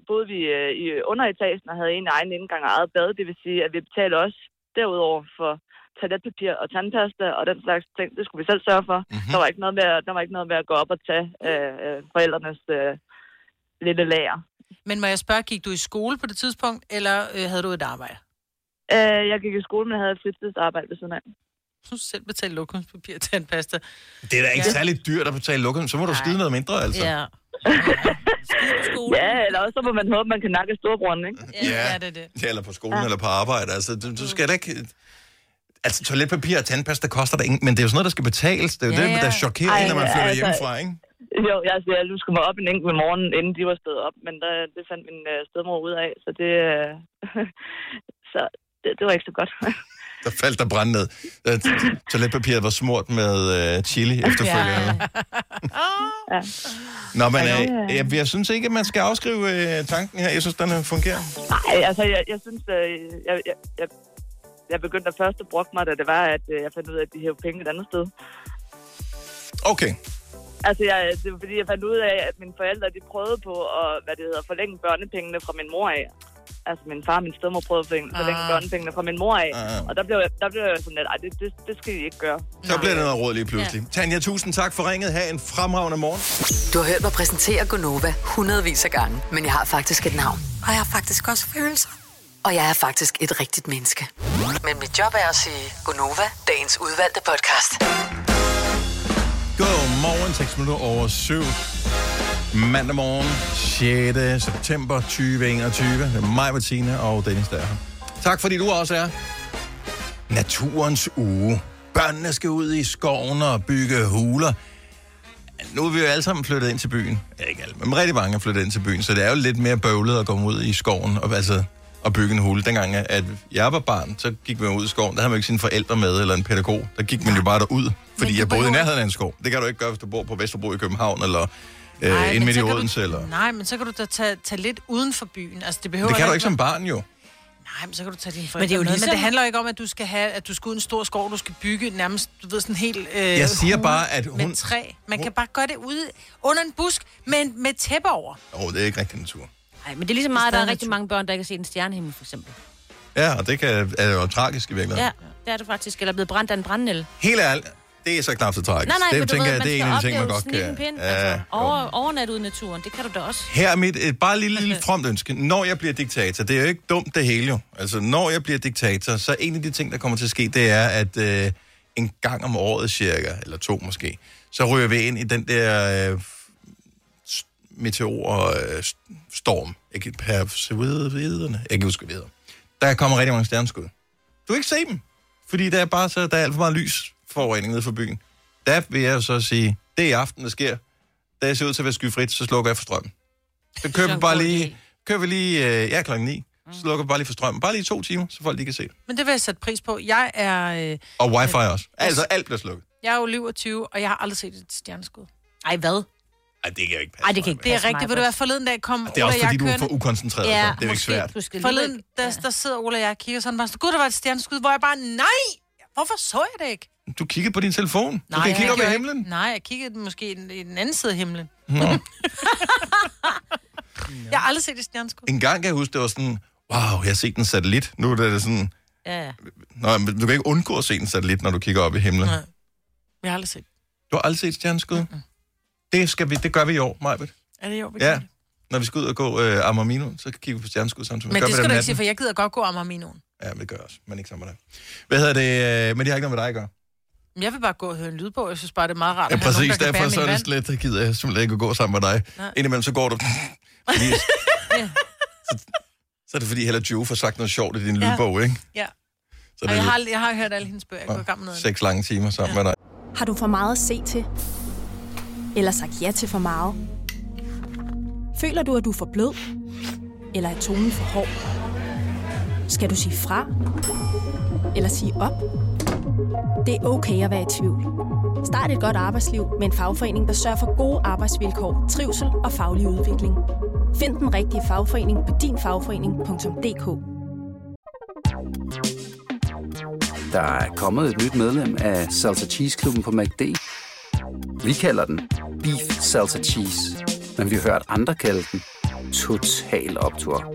S11: boede vi øh, i underetagen og havde en egen indgang og eget bad. Det vil sige, at vi betalte også derudover for toiletpapir og tandpasta og den slags ting. Det skulle vi selv sørge for. Mm-hmm. Der, var ikke noget med, at- der var ikke noget med at gå op og tage øh, øh, forældrenes øh, lille lager.
S3: Men må jeg spørge, gik du i skole på det tidspunkt, eller øh, havde du et arbejde?
S11: Øh, jeg gik i skole, men havde et fritidsarbejde ved siden af.
S3: Du selv betalte lokumspapir og tandpasta.
S1: Det er da ikke ja. særlig dyrt at betale lukket, så må du skide noget mindre, altså.
S3: Ja.
S11: Ja, eller også så må man håbe, man kan nakke storebroren, ikke?
S1: Ja,
S3: det er det.
S1: Ja, eller på skolen ja. eller på arbejde. Altså, du, du skal da ikke... Altså, toiletpapir og tandpasta koster da ingen, men det er jo sådan noget, der skal betales. Det er jo
S11: Ja,
S1: ja, det, der
S11: ja.
S1: chokerer
S11: Ej,
S1: en, når man flytter
S11: altså-
S1: altså... hjemmefra, ikke?
S11: Jo, jeg, altså, jeg luskede mig op en enkelt morgen, inden de var stået op, men der, det fandt min øh, stedmor ud af, så det, øh, [laughs] så det, det var ikke så godt. [laughs]
S1: Der faldt der brand ned. Øh, t- t- Toiletpapiret var smurt med øh, chili efterfølgende. Ja.
S11: ja.
S1: Nå, men
S11: Ja,
S1: øh,
S11: ja.
S1: jeg, jeg synes ikke, at man skal afskrive øh, tanken her. Jeg synes, den øh, fungerer.
S11: Nej, altså, jeg, jeg synes, øh, jeg, jeg, jeg, jeg begyndte at først at brokke mig, da det var, at øh, jeg fandt ud af, at de hævde penge et andet sted.
S1: Okay.
S11: Altså, jeg, det var fordi, jeg fandt ud af, at mine forældre, de prøvede på at, hvad det hedder, forlænge børnepengene fra min mor af. Altså, min far og min stedmor prøvede at forlænge, forlænge
S1: Ah.
S11: børnepengene fra min mor af.
S1: Ah.
S11: Og der blev, jeg, der blev jeg sådan lidt, "Ej, det, det, det skal I ikke gøre.
S1: Så bliver det noget råd lige pludselig. Ja. Tanja, tusind tak for ringet. Ha' en fremragende morgen.
S4: Du har hørt mig præsentere Gonova hundredvis af gange, men jeg har faktisk et navn. Og jeg har faktisk også følelser. Og jeg er faktisk et rigtigt menneske. Men mit job er at sige Gonova, dagens udvalgte podcast.
S1: Godmorgen, 6 minutter over 7. Mandag morgen, 6. september 2021. Det er mig, Bettina og Dennis, der er her. Tak fordi du også er. Naturens uge. Børnene skal ud i skoven og bygge huler. Nu er vi jo alle sammen flyttet ind til byen. Ja, ikke alle, men rigtig mange er flyttet ind til byen, så det er jo lidt mere bøvlet at komme ud i skoven og, altså, og bygge en hule. Dengang, at jeg var barn, så gik man ud i skoven. Der havde man jo ikke sine forældre med eller en pædagog. Der gik man jo bare derud, fordi jeg boede i nærheden af en skov. Det kan du ikke gøre, hvis du bor på Vesterbro i København eller
S3: Nej,
S1: øh, inde
S3: men
S1: midt i
S3: så kan
S1: Odense. Eller...
S3: Nej, men så kan du da tage, tage lidt uden for byen. Altså, det behøver
S1: Det kan du
S3: heller
S1: ikke som barn jo.
S3: Nej, men så kan du tage dine forældre
S2: Men det er jo
S3: med.
S2: ligesom-
S3: Men det handler jo ikke om, at du skal have, at du skal ud i en stor skov, du skal bygge nærmest, du ved, sådan helt... Øh,
S1: Jeg siger
S3: hule
S1: bare, at hun-
S3: Med træ. Man kan bare gøre det ude under en busk, men med tæppe over.
S1: Åh, oh, det er ikke rigtig natur.
S2: Nej, men det er ligesom meget, at der er rigtig mange børn, der ikke har set en stjernehimmel, for eksempel.
S1: Ja, og det kan, er jo tragisk i virkeligheden.
S2: Ja, det er det faktisk. Eller blevet brændt af en brændel.
S1: Helt ærligt, det er så knap så tragisk.
S2: Nej, nej,
S1: det
S2: men du
S1: tænker
S2: ved,
S1: jeg,
S2: man
S1: det er en af de
S2: skal
S1: ting, man
S2: opleve
S1: godt kan.
S2: snilden pind, altså.
S1: Ja,
S2: Over, overnat ude i naturen, det kan du da også.
S1: Her er mit et bare lille, lille fromt ønske. Når jeg bliver diktator, det er jo ikke dumt det hele jo. Altså, når jeg bliver diktator, så en af de ting, der kommer til at ske, det er, at øh, en gang om året cirka, eller to måske, så ryger vi ind i den der øh, s- meteorstorm. Jeg kan per serviderne. Jeg kan ikke huske, hvad det hedder. Der kommer rigtig mange stjerneskud. Du kan ikke se dem, fordi der er bare så, der er alt for meget lys forurening nede for byen. Der vil jeg jo så sige, det er i aften, der sker. Da jeg ser ud til at være skyfrit, så slukker jeg for strømmen. Så kører vi bare lige, kører vi lige øh, ja, klokken 9. Så lukker vi bare lige for strømmen. Bare lige to timer, så folk lige kan se det.
S3: Men det vil jeg sætte pris på. Jeg er, øh,
S1: Og wifi også. Altså, alt bliver slukket.
S3: jeg er jo 27, og jeg har aldrig set et stjerneskud.
S2: Ej, hvad?
S1: Ej, det kan jeg ikke passe.
S2: Ej, det kan ikke
S3: Det er
S2: passe mig,
S3: rigtigt. Ved du
S2: Britt.
S3: hvad, forleden dag kom
S1: Det er også
S3: Ole og
S1: fordi,
S3: jeg
S1: du er
S3: kørende-
S1: for ukoncentreret. Ja, så. Det er jo ikke svært.
S3: Forleden, der, der sidder Ola og jeg og kigger sådan bare, sådan, gud, der var et stjerneskud, hvor jeg bare, nej, hvorfor så jeg det ikke?
S1: Du kigger på din telefon. Nej, du kan
S3: jeg
S1: kigge op i
S3: gjorde
S1: himlen.
S3: Ikke. Nej, jeg kiggede måske i den, i den anden side af himlen.
S1: Nå.
S3: Jeg har aldrig set et stjerneskud.
S1: En gang kan jeg huske, det var sådan, wow, jeg har set en satellit. Nu er det sådan,
S3: Ja, ja.
S1: nej, men du kan ikke undgå at se en satellit, når du kigger op i himlen.
S3: Nej. Jeg har aldrig set.
S1: Du har aldrig set stjerneskud? Det, skal vi, det gør vi i år, Majbet.
S3: Er det jo? vi
S1: Ja.
S3: kan det?
S1: Når vi skal ud og gå øh, Ammermino, så kigger vi på stjerneskud samtidig.
S3: Men
S1: Gør
S3: det
S1: vi
S3: skal
S1: om
S3: du ikke
S1: natten.
S3: sige, for jeg gider godt gå om Arminoen.
S1: Ja, men det gør jeg også, men ikke sammen med dig. Hvad hedder det? øh, Men det har ikke noget med dig at gøre.
S3: Men jeg vil bare gå og høre en lydbog. Jeg synes bare, det er meget rart.
S1: Ja,
S3: at have nogen,
S1: præcis.
S3: der kan
S1: derfor
S3: bære
S1: så er
S3: min
S1: det
S3: vand.
S1: slet, der gider jeg simpelthen ikke at gå sammen med dig.
S3: Nej.
S1: Indimellem så går
S3: [laughs]
S1: du... Fordi, så, så er det fordi, heller Joe får sagt noget sjovt i din
S3: Ja.
S1: lydbog, ikke?
S3: Ja.
S1: Så er
S3: Og jeg har,
S1: det
S3: ald- jeg har hørt alle hendes bøger. Jeg går i gang med noget.
S1: seks lange timer sammen med dig.
S6: Har du for meget at se til? Eller sagt ja til for meget? Føler du, at du er for blød? Eller er tonen for hård? Skal du sige fra? Eller sige op? Det er okay at være i tvivl. Start et godt arbejdsliv med en fagforening, der sørger for gode arbejdsvilkår, trivsel og faglig udvikling. Find den rigtige fagforening på dinfagforening.dk
S12: Der er kommet et nyt medlem af Salsa Cheese Klubben på MACD. Vi kalder den Beef Salsa Cheese, men vi har hørt andre kalde den Total Optor.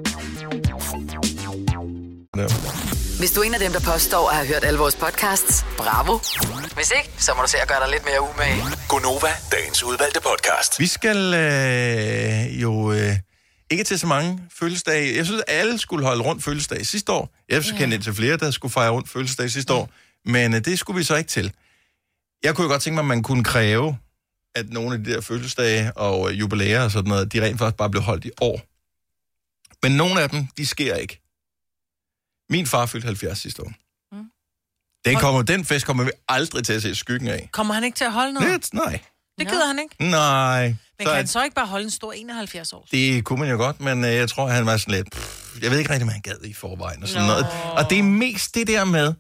S4: Hvis du er en af dem, der påstår at have hørt alle vores podcasts, bravo. [clears throat] Hvis ikke, så må du se at gøre dig lidt mere umage.
S13: Gonova, dagens udvalgte podcast.
S1: Vi skal øh, jo øh, ikke til så mange fødselsdage. Jeg synes, at alle skulle holde rundt fødselsdag sidste år. Jeg ja. kendte til flere, der skulle fejre rundt fødselsdag sidste år. Men øh, det skulle vi så ikke til. Jeg kunne jo godt tænke mig, at man kunne kræve, at nogle af de der fødselsdage og øh, jubilæer og sådan noget, de rent faktisk bare blev holdt i år. Men nogle af dem, de sker ikke. Min far fyldte 70 sidste år.
S3: Mm.
S1: Den, kommer, den fest kommer vi aldrig til at se skyggen af.
S3: Kommer han ikke til at holde noget?
S1: Lidt, nej.
S3: Det gider han ikke.
S1: Nej.
S3: Men
S1: Så
S3: kan
S1: er-
S3: han så ikke bare holde en stor 71 år?
S1: Det kunne man jo godt, men øh, jeg tror, han var sådan lidt... Pff, jeg ved ikke rigtig, hvad han gad i forvejen og sådan
S3: Nå.
S1: noget. Og det er mest det der med,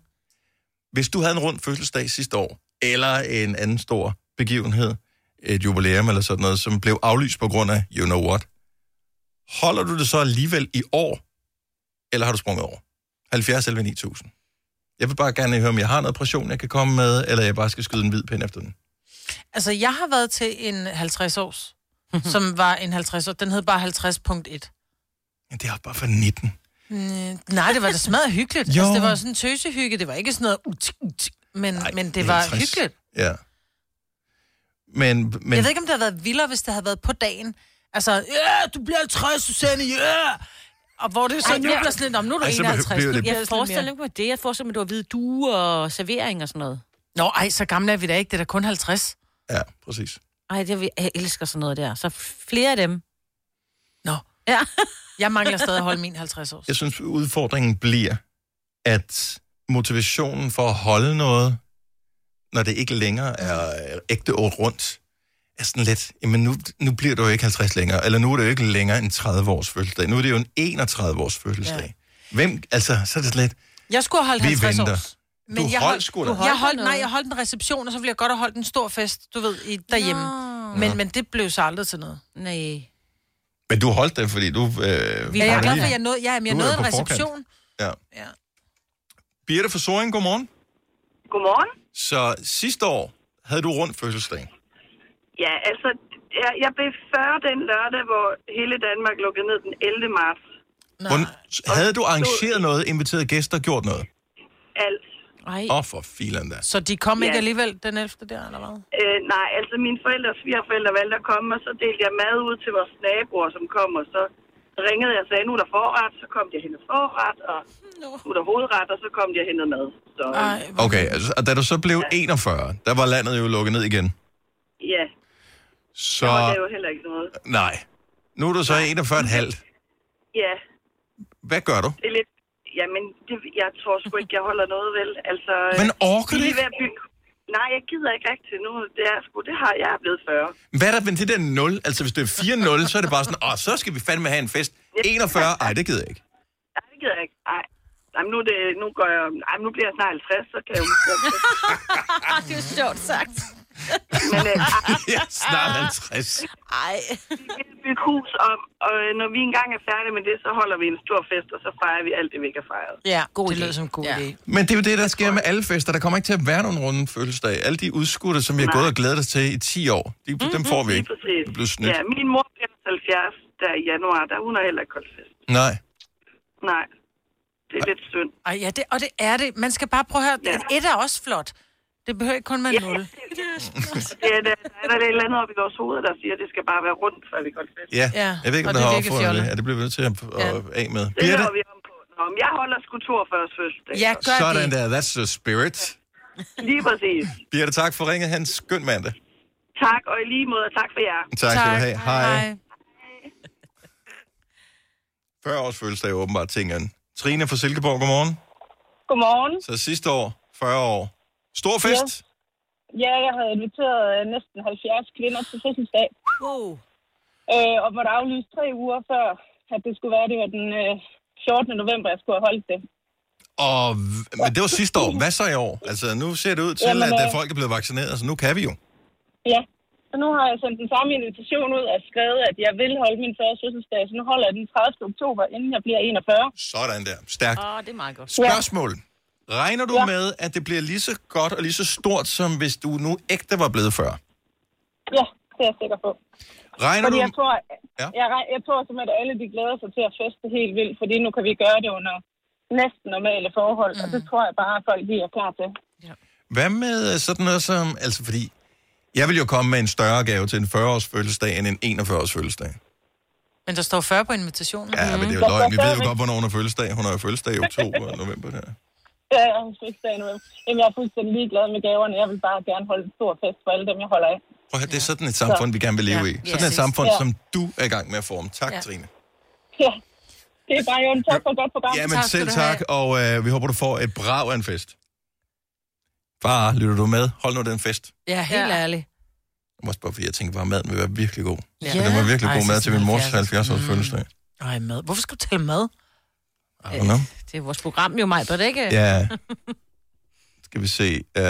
S1: hvis du havde en rund fødselsdag sidste år, eller en anden stor begivenhed, et jubilæum eller sådan noget, som blev aflyst på grund af you know what, holder du det så alligevel i år, eller har du sprunget over? 70 eller 9000. Jeg vil bare gerne høre, om jeg har noget pression, jeg kan komme med, eller jeg bare skal skyde en hvid pind efter den.
S3: Altså, jeg har været til en 50-års, som var en 50-års. Den hed bare 50.1.
S1: Men det er bare for 19.
S3: Mm, Nej, det var da smadret hyggeligt.
S1: Jo.
S3: Altså, det var sådan en tøsehygge. Det var ikke sådan noget... ut, ut, Men, Ej, men det var
S1: 50.
S3: hyggeligt.
S1: Ja. Men,
S3: Men...
S1: men
S3: Jeg ved ikke, om det havde været vildere, hvis det havde været på dagen. Altså, ja, du bliver 50, Susanne, ja! Og hvor det så
S2: Ej,
S3: nu
S2: ja.
S3: bliver sådan lidt, "Nå, men nu er du
S2: Ej, så
S3: 51.
S2: bliver
S3: nu
S2: det-
S3: bliver
S2: Jeg
S3: lidt
S2: forestiller
S3: mere."
S2: mig ikke det. Jeg forestiller mig, at du har hvide duer og servering og sådan noget.
S3: Nå, ej, så gamle er vi da ikke. Det er da kun 50.
S1: Ja, præcis.
S2: Ej, det, vil- jeg elsker sådan noget der. Så flere af dem.
S3: Nå.
S2: Ja.
S3: Jeg mangler stadig at holde min 50 års.
S1: jeg synes, udfordringen bliver, at motivationen for at holde noget, når det ikke længere er øh, ægte år rundt, er sådan lidt, jamen nu, nu bliver du jo ikke 50 længere, eller nu er det jo ikke længere en 30-års fødselsdag, nu er det jo en 31-års fødselsdag. Ja. Hvem, altså, så er det sådan lidt,
S3: Jeg skulle have holdt
S1: vi
S3: 50
S1: venter.
S3: års.
S1: Men du jeg holdt sgu da.
S3: jeg holdt, nej, jeg holdt en reception, og så ville jeg godt have holdt en stor fest, du ved, i, derhjemme. Nå.
S1: Nå. Øh,
S3: Men, men det blev så aldrig til noget.
S2: Nej. Ja,
S1: Men du holdt det, fordi du... Øh,
S3: jeg er glad for, at jeg nåede, ja, men jeg
S1: Du er
S3: nåede
S1: på
S3: en
S1: forkant.
S3: reception.
S1: Ja.
S3: ja.
S1: Birte fra Soring, godmorgen.
S14: Godmorgen.
S1: Så sidste år havde du rundt fødselsdag.
S14: Ja, altså, jeg, jeg blev 40 den lørdag, hvor hele Danmark lukkede ned den 11. marts.
S1: Hvor, havde du arrangeret noget, inviteret gæster, gjort noget?
S14: Alt.
S2: Ej.
S1: Åh, oh, for filan da.
S3: Så de kom ikke
S14: Ja.
S3: alligevel den 11. der, eller hvad?
S14: Øh, nej, altså mine forældre og svigerforældre valgte at komme, og så delte jeg mad ud til vores naboer, som kom, og så ringede jeg og sagde, nu er der forret, så kom jeg hen og forret, og nu er der hovedret, og så kom jeg hen og mad. Så, Ej.
S1: Okay, altså, og da du så blev 41, der var landet jo lukket ned igen.
S14: ja, så
S1: Så,
S14: var det jo heller ikke noget.
S1: nej. Nu er du så 41 halvt.
S14: Ja,
S1: Hvad gør du?
S14: det er lidt... Jamen, det, jeg tror sgu ikke, jeg holder noget, vel? Altså,
S1: Men orker
S14: vi er
S1: du
S14: lige ved at bygge... Nej, jeg gider ikke rigtigt nu. Det er sgu, det har jeg er blevet 40.
S1: Hvad er der med det der 0? Altså, hvis det er 4-0, så er det bare sådan, åh, så skal vi fandme have en fest. 41? Ej, det gider jeg ikke.
S14: Nej, det gider jeg ikke. Nej. Jamen, nu, er det, nu, går jeg, ej, nu bliver jeg snart 50, så kan jeg
S1: [laughs]
S14: jo...
S2: det er sjovt sagt.
S14: Men,
S1: [laughs]
S14: øh,
S1: jeg er snart 50.
S2: Ej.
S14: Vi vil bygge hus om, og øh, når vi engang er færdige med det, så holder vi en stor fest, og så fejrer vi alt det, vi ikke har fejret.
S3: Ja, god det lød som en god ja. idé.
S1: Men det er jo det, der sker med alle fester. Der kommer ikke til at være nogen runde fødselsdag. Alle de udskudte, som vi har
S14: Nej. Mhm.
S1: gået og glædet os til i 10 år, de, dem får vi
S14: Mm, Lige
S1: ikke.
S14: præcis.
S1: Det blev snydt.
S14: Ja, min mor bliver 70 der i januar, der hun har heller ikke holdt fest.
S1: Nej.
S14: Nej, det er lidt synd.
S3: Ej, ja, det, og det er det. Man skal bare prøve at høre,
S14: Ja.
S3: at et er også flot. Det behøver ikke kun være 0.
S14: [laughs] Det er, der, der er der et eller andet op i vores hoveder, der siger, at det skal bare være rundt, før vi går til fest.
S1: Ja,
S3: Ja,
S1: jeg ved ikke, om
S3: og
S1: der
S3: det
S1: har
S3: virker
S1: opfundet det.
S3: fjollet.
S1: Ja, det bliver vi nødt til at, at af med.
S14: Det laver vi om på. Nå, men jeg holder sgu 42 fødselsdag.
S3: Ja, gør
S1: Sådan
S3: det.
S1: der, that's the spirit.
S14: Lige præcis.
S1: Birte, tak for ringet. Han skøn mandag.
S14: Tak, og i lige måde, og tak for jer.
S1: Tak, skal du have. Hej. 40 års fødselsdag er åbenbart tingene. Trine fra Silkeborg, godmorgen.
S15: Godmorgen.
S1: Så sidste år, 40 år. Stor fest.
S15: Ja, jeg havde inviteret øh, næsten 70 kvinder til fødselsdag. Wow. Øh, og måtte aflyse tre uger før, at det skulle være, det var den øh, 14. november, jeg skulle have holdt det.
S1: Og, v- men det var sidste år. Hvad så i år? Altså, nu ser det ud til,
S15: Jamen,
S1: at der
S15: øh,
S1: folk er blevet vaccineret, så nu kan vi jo.
S15: Ja, så nu har jeg sendt den samme invitation ud og skrevet, at jeg vil holde min første fødselsdag, så nu holder jeg den 30. oktober, inden jeg bliver 41.
S1: Sådan der. Stærkt.
S2: Åh, Ah, det er meget godt.
S1: Spørgsmål. Regner du ja. med, at det bliver lige så godt og lige så stort, som hvis du nu ægte var blevet før?
S15: Ja, det er jeg sikker på.
S1: Regner
S15: fordi
S1: du-
S15: jeg tror,
S1: Ja.
S15: ja. jeg, reg- jeg tror simpelthen, at alle de glæder sig til at feste helt vildt, fordi nu kan vi gøre det under næsten normale forhold, mm. og det tror jeg bare, at folk lige er klar til.
S1: Hvad med øh, sådan noget som... Altså, fordi jeg vil jo komme med en større gave til en 40-års fødselsdag end en 41-års fødselsdag.
S3: Men der står 40 på invitationen.
S1: Ja, men det
S15: Mm-hmm.
S1: er jo løgn. Vi ved jo godt, hvornår hun har fødselsdag. Hun har jo fødselsdag i oktober og november der.
S15: Ja, jeg har fødselsdag nu. Jamen, jeg er fuldstændig ligeglad med gaverne. Jeg vil bare gerne holde en stor fest for alle dem, jeg holder af. [laughs]
S1: Prøv at høre, det er sådan et samfund, vi gerne vil leve
S15: Ja.
S1: i.
S15: Ja,
S1: Sådan et
S15: præcis.
S1: samfund,
S15: Ja.
S1: som du er i gang med at forme. Tak,
S15: Ja.
S1: Trine.
S15: Ja, det er bare jo en tak for et godt program.
S1: Ja, men selv tak, og øh, vi håber, du får et brag af en fest. Far, lytter du med? Hold nu den fest.
S3: Ja, helt ja. ærligt.
S1: Jeg må også bare, fordi jeg tænker bare, at maden vil være virkelig god. Ja. Så
S3: Ja.
S1: den var virkelig
S3: Ej,
S1: god
S3: så
S1: mad til min
S15: altså.
S1: mors
S3: sådan
S1: 70
S15: Mm.
S1: års fødselsdag.
S3: Ej, mad. Hvorfor skal du tale mad? Øh,
S1: I don't know.
S2: Det er vores program jo, mig, det ikke?
S1: Ja. Skal vi se. Øh,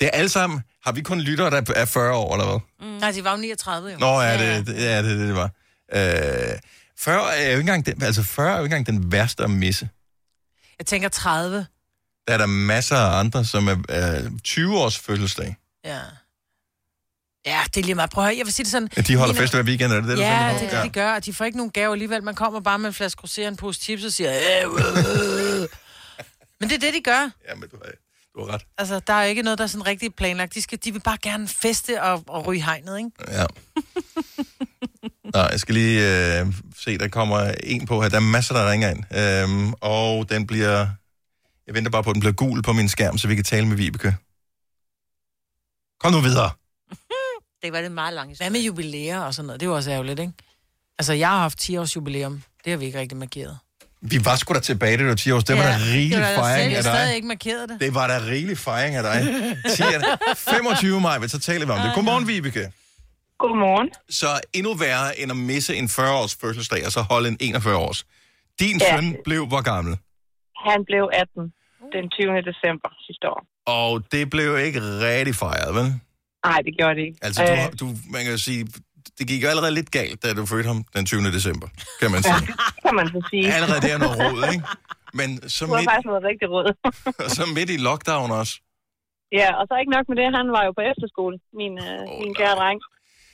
S1: det er alle sammen. Har vi kun lyttere, der er 40 år, eller hvad?
S3: Mm. Nej, de var jo 39, jo.
S1: Nå, ja, det, det- ja, det, er det, det var. Øh, 40 er jo ikke engang den, altså 40 er jo ikke engang den værste at misse.
S3: Jeg tænker 30.
S1: Der er der masser af andre, som er øh, 20 års fødselsdag.
S3: Ja. Ja, det er lige meget. Prøv at høre, jeg vil sige det sådan...
S1: Ja, de holder
S3: Mine-
S1: fest hver weekend, er det det, du
S3: ja,
S1: tænker på?
S3: det er det, de gør, og de får ikke nogen gave alligevel. Man kommer bare med en flaske rosé og en pose chips og siger... "Øh, øh." Men det er det, de gør.
S1: Ja, men du har, du har ret.
S3: Altså, der er ikke noget, der er sådan rigtig planlagt. De, skal, de vil bare gerne feste og, og ryge hegnet, ikke?
S1: Ja. Nå, jeg skal lige øh, se, der kommer en på her. Der er masser, der ringer ind. Øhm, og den bliver... Jeg venter bare på, at den bliver gul på min skærm, så vi kan tale med Vibeke. Kom nu videre.
S2: Det var det meget langt.
S3: Hvad med jubilæer og sådan noget? Det er jo også ærgerligt, ikke? Altså, jeg har haft 10 års jubilæum. Det har vi ikke rigtig markeret.
S1: Vi var sgu da tilbage, det var 10 år. Det var
S3: Ja,
S1: da
S3: det
S1: rigelig
S3: var da
S1: fejring
S3: selv-
S1: af
S3: stadig
S1: dig.
S3: ikke markeret det.
S1: Det var da rigelig fejring af dig. 10
S3: [laughs]
S1: er- 25 maj, så taler vi om det. Godmorgen, Vibeke.
S16: Godmorgen.
S1: Så endnu værre end at misse en 40-års fødselsdag, og så holde en 41-års. Din
S16: Ja.
S1: søn blev hvor gammel?
S16: Han blev 18 den 20. december sidste år.
S1: Og det blev ikke rigtig fejret, vel?
S16: Nej, det gjorde det ikke. Øh,
S1: Altså, du, har- du, man kan jo sige, det gik jo allerede lidt galt, da du fødte ham den 20. december, kan man sige.
S16: [laughs] kan man så sige.
S1: Allerede der er noget
S16: [laughs]
S1: råd, ikke? Men så
S16: Det var
S1: midt,
S16: faktisk noget rigtig råd.
S1: så midt i lockdown også.
S16: [laughs] ja, og så ikke nok med det, han var jo på efterskole, min, øh, min kære dreng,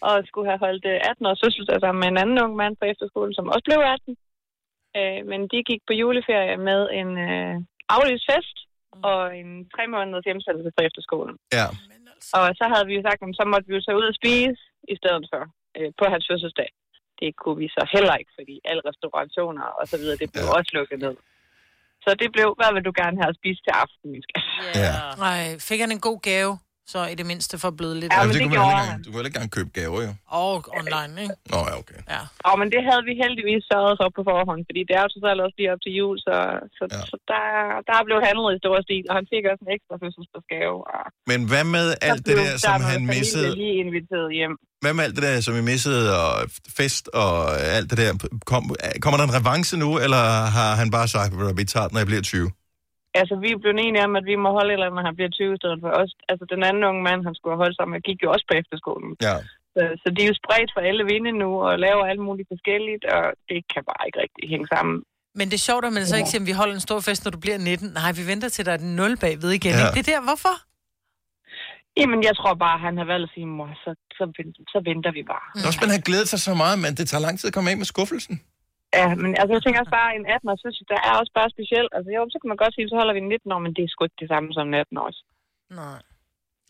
S16: og skulle have holdt øh, 18 års fødselsdag sammen med en anden ung mand på efterskole, som også blev 18. Øh, men de gik på juleferie med en øh, aflyst fest og en tre måneders hjemsendelse på efterskolen.
S1: Ja. Altså.
S16: Og så havde vi jo sagt, at så måtte vi jo tage ud og spise i stedet for øh, på hans fødselsdag. Det kunne vi så heller ikke, fordi alle restaurationer og så videre, det blev ja. også lukket ned. Så det blev, hvad vil du gerne have at spise til aften, min skat?
S1: Ja.
S3: Nej, fik han en god gave, så i det mindste for at bløde lidt.
S1: Jamen, Altså, det kunne man heller ikke, engang- du kunne heller ikke engang købe gaver, jo.
S3: Og online, ikke?
S1: Nå, ja, okay.
S3: Ja.
S16: Og men det havde vi heldigvis sørget for på forhånd, fordi det er jo så selv også lige op til jul, så, så, ja. så der, der blev handlet i stor stil, og han fik også en ekstra fødselsdagsgave. Og
S1: Men hvad med alt det
S16: blev
S1: der,
S16: der
S1: som
S16: noget
S1: han
S16: familie
S1: missede?
S16: lige inviteret hjem.
S1: Hvad med alt det der, som I missede, og fest og alt det der? Kom, kommer der en revanche nu, eller har han bare sagt, at vi tager den, når jeg bliver 20?
S16: Altså, vi blev enige om, at vi må holde et eller andet, når han bliver 20 i stedet for os. Altså, den anden unge mand, han skulle have holdt sammen med, gik jo også på efterskolen.
S1: Ja.
S16: Så, så de er jo spredt for alle vinde nu, og laver alt muligt forskelligt, og det kan bare ikke rigtig hænge sammen.
S3: Men det er sjovt, at man så ikke siger, at vi holder en stor fest, når du bliver 19. Nej, vi venter til, der er den 0 bagved igen.
S16: Ja.
S3: Ja. Ikke? Det er der, hvorfor?
S16: Jamen, jeg tror bare, han har valgt at sige, mor, så, så, vent- så venter vi bare.
S1: Nå, men han glædet sig så meget, men det tager lang tid at komme af med skuffelsen.
S16: Ja, men altså, jeg tænker også bare, en 18 års fødsel, der er også bare speciel. Altså, jo, så kan man godt sige, så holder vi en 19 år, men det er sgu ikke det samme som en 18 års.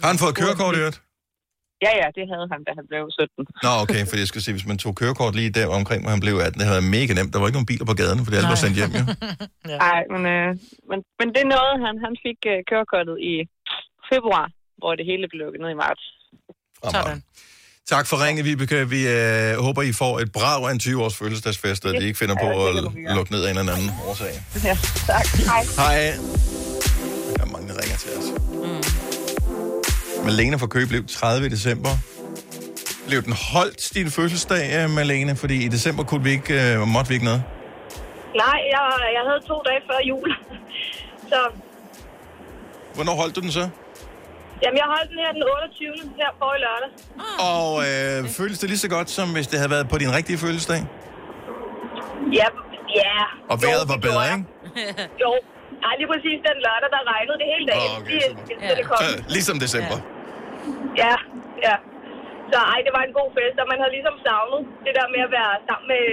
S1: Har han fået kørekort i øvrigt?
S16: Ja, ja, det havde han, da han blev 17.
S1: Nå, okay, for jeg skal se, hvis man tog kørekort lige der omkring, hvor han blev 18, det havde været mega nemt. Der var ikke nogen biler på gaden, for alle var sendt hjem, jo. [laughs]
S16: Nej, ja. men, øh, men, men det er noget, han, han fik øh, kørekortet i februar, hvor det hele blev lukket ned i marts.
S1: Sådan. Tak for ringet, Vibeke. Vi øh, håber, I får et brag af en 20-års fødselsdagsfest, og at I ikke finder på at lukke ned af en eller anden årsag.
S16: Ja, tak. Hej.
S1: Hej. Der er mange, der ringer til os. Malene fra Køge blev 30 i december. Blev den holdt, din fødselsdag, øh, Malene? Fordi i december kunne vi ikke, øh, måtte vi ikke noget.
S10: Nej, jeg, jeg havde to dage før jul. [laughs] Så
S1: Hvornår holdt du den så?
S10: jamen, jeg holdt den her den 28. her for i lørdag.
S1: Og øh, føles det lige så godt, som hvis det havde været på din rigtige fødselsdag?
S10: Ja, ja.
S1: Og vejret var bedre, ikke?
S10: Jo, Nej, lige præcis den lørdag, der regnede det hele dagen. Okay, lige, ja. det kom.
S1: Så, ligesom december.
S10: Ja, ja. Så ej, det var en god fest, og man havde ligesom savnet det der med at være sammen med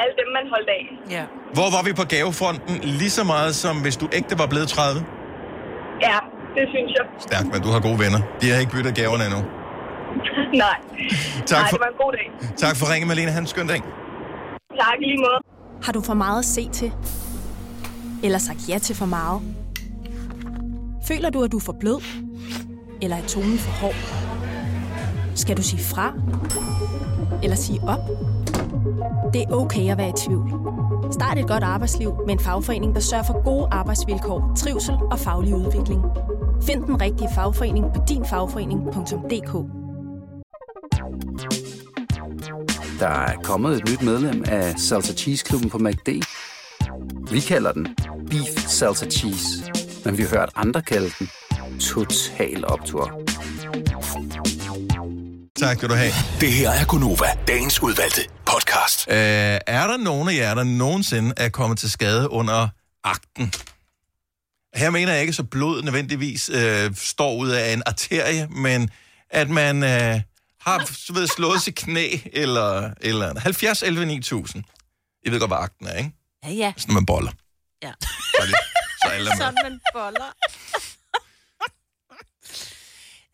S10: alle dem, man holdt af.
S3: Ja.
S1: Hvor var vi på gavefronten lige så meget, som hvis du ægte var blevet 30?
S10: Ja, det synes
S15: [laughs]
S10: jeg.
S1: Stærk, men du har gode venner. De har ikke byttet gaverne endnu.
S10: Nej.
S1: Tak
S10: Nej,
S1: for-
S10: det var en god dag.
S1: Tak for ringen, Malene. Han skøn dag.
S10: Tak lige måde.
S6: Har du for meget at se til? Eller sagt ja til for meget? Føler du, at du er for blød? Eller er tonen for hård? Skal du sige fra? Eller sige op? Det er okay at være i tvivl. Start et godt arbejdsliv med en fagforening, der sørger for gode arbejdsvilkår, trivsel og faglig udvikling. Find den rigtige fagforening på dinfagforening.dk.
S12: Der er kommet et nyt medlem af Salsa Cheese Klubben på MACD. Vi kalder den Beef Salsa Cheese, men vi har hørt andre kalde den Total Optor.
S1: Tak skal du have.
S13: Det her er Gunova, dagens udvalgte podcast.
S1: Øh, er der nogen af jer, der nogensinde er kommet til skade under akten? Her mener jeg ikke, så blod nødvendigvis øh, står ud af en arterie, men at man øh, har så ved, slået sit knæ, eller, eller andet. 70, 11, 9000. Jeg ved godt, hvad akten er, ikke?
S2: Ja, ja.
S1: Sådan, man boller.
S2: ja.
S1: Så, er det, så er alle
S3: [laughs]
S1: med.
S2: Sådan man boller.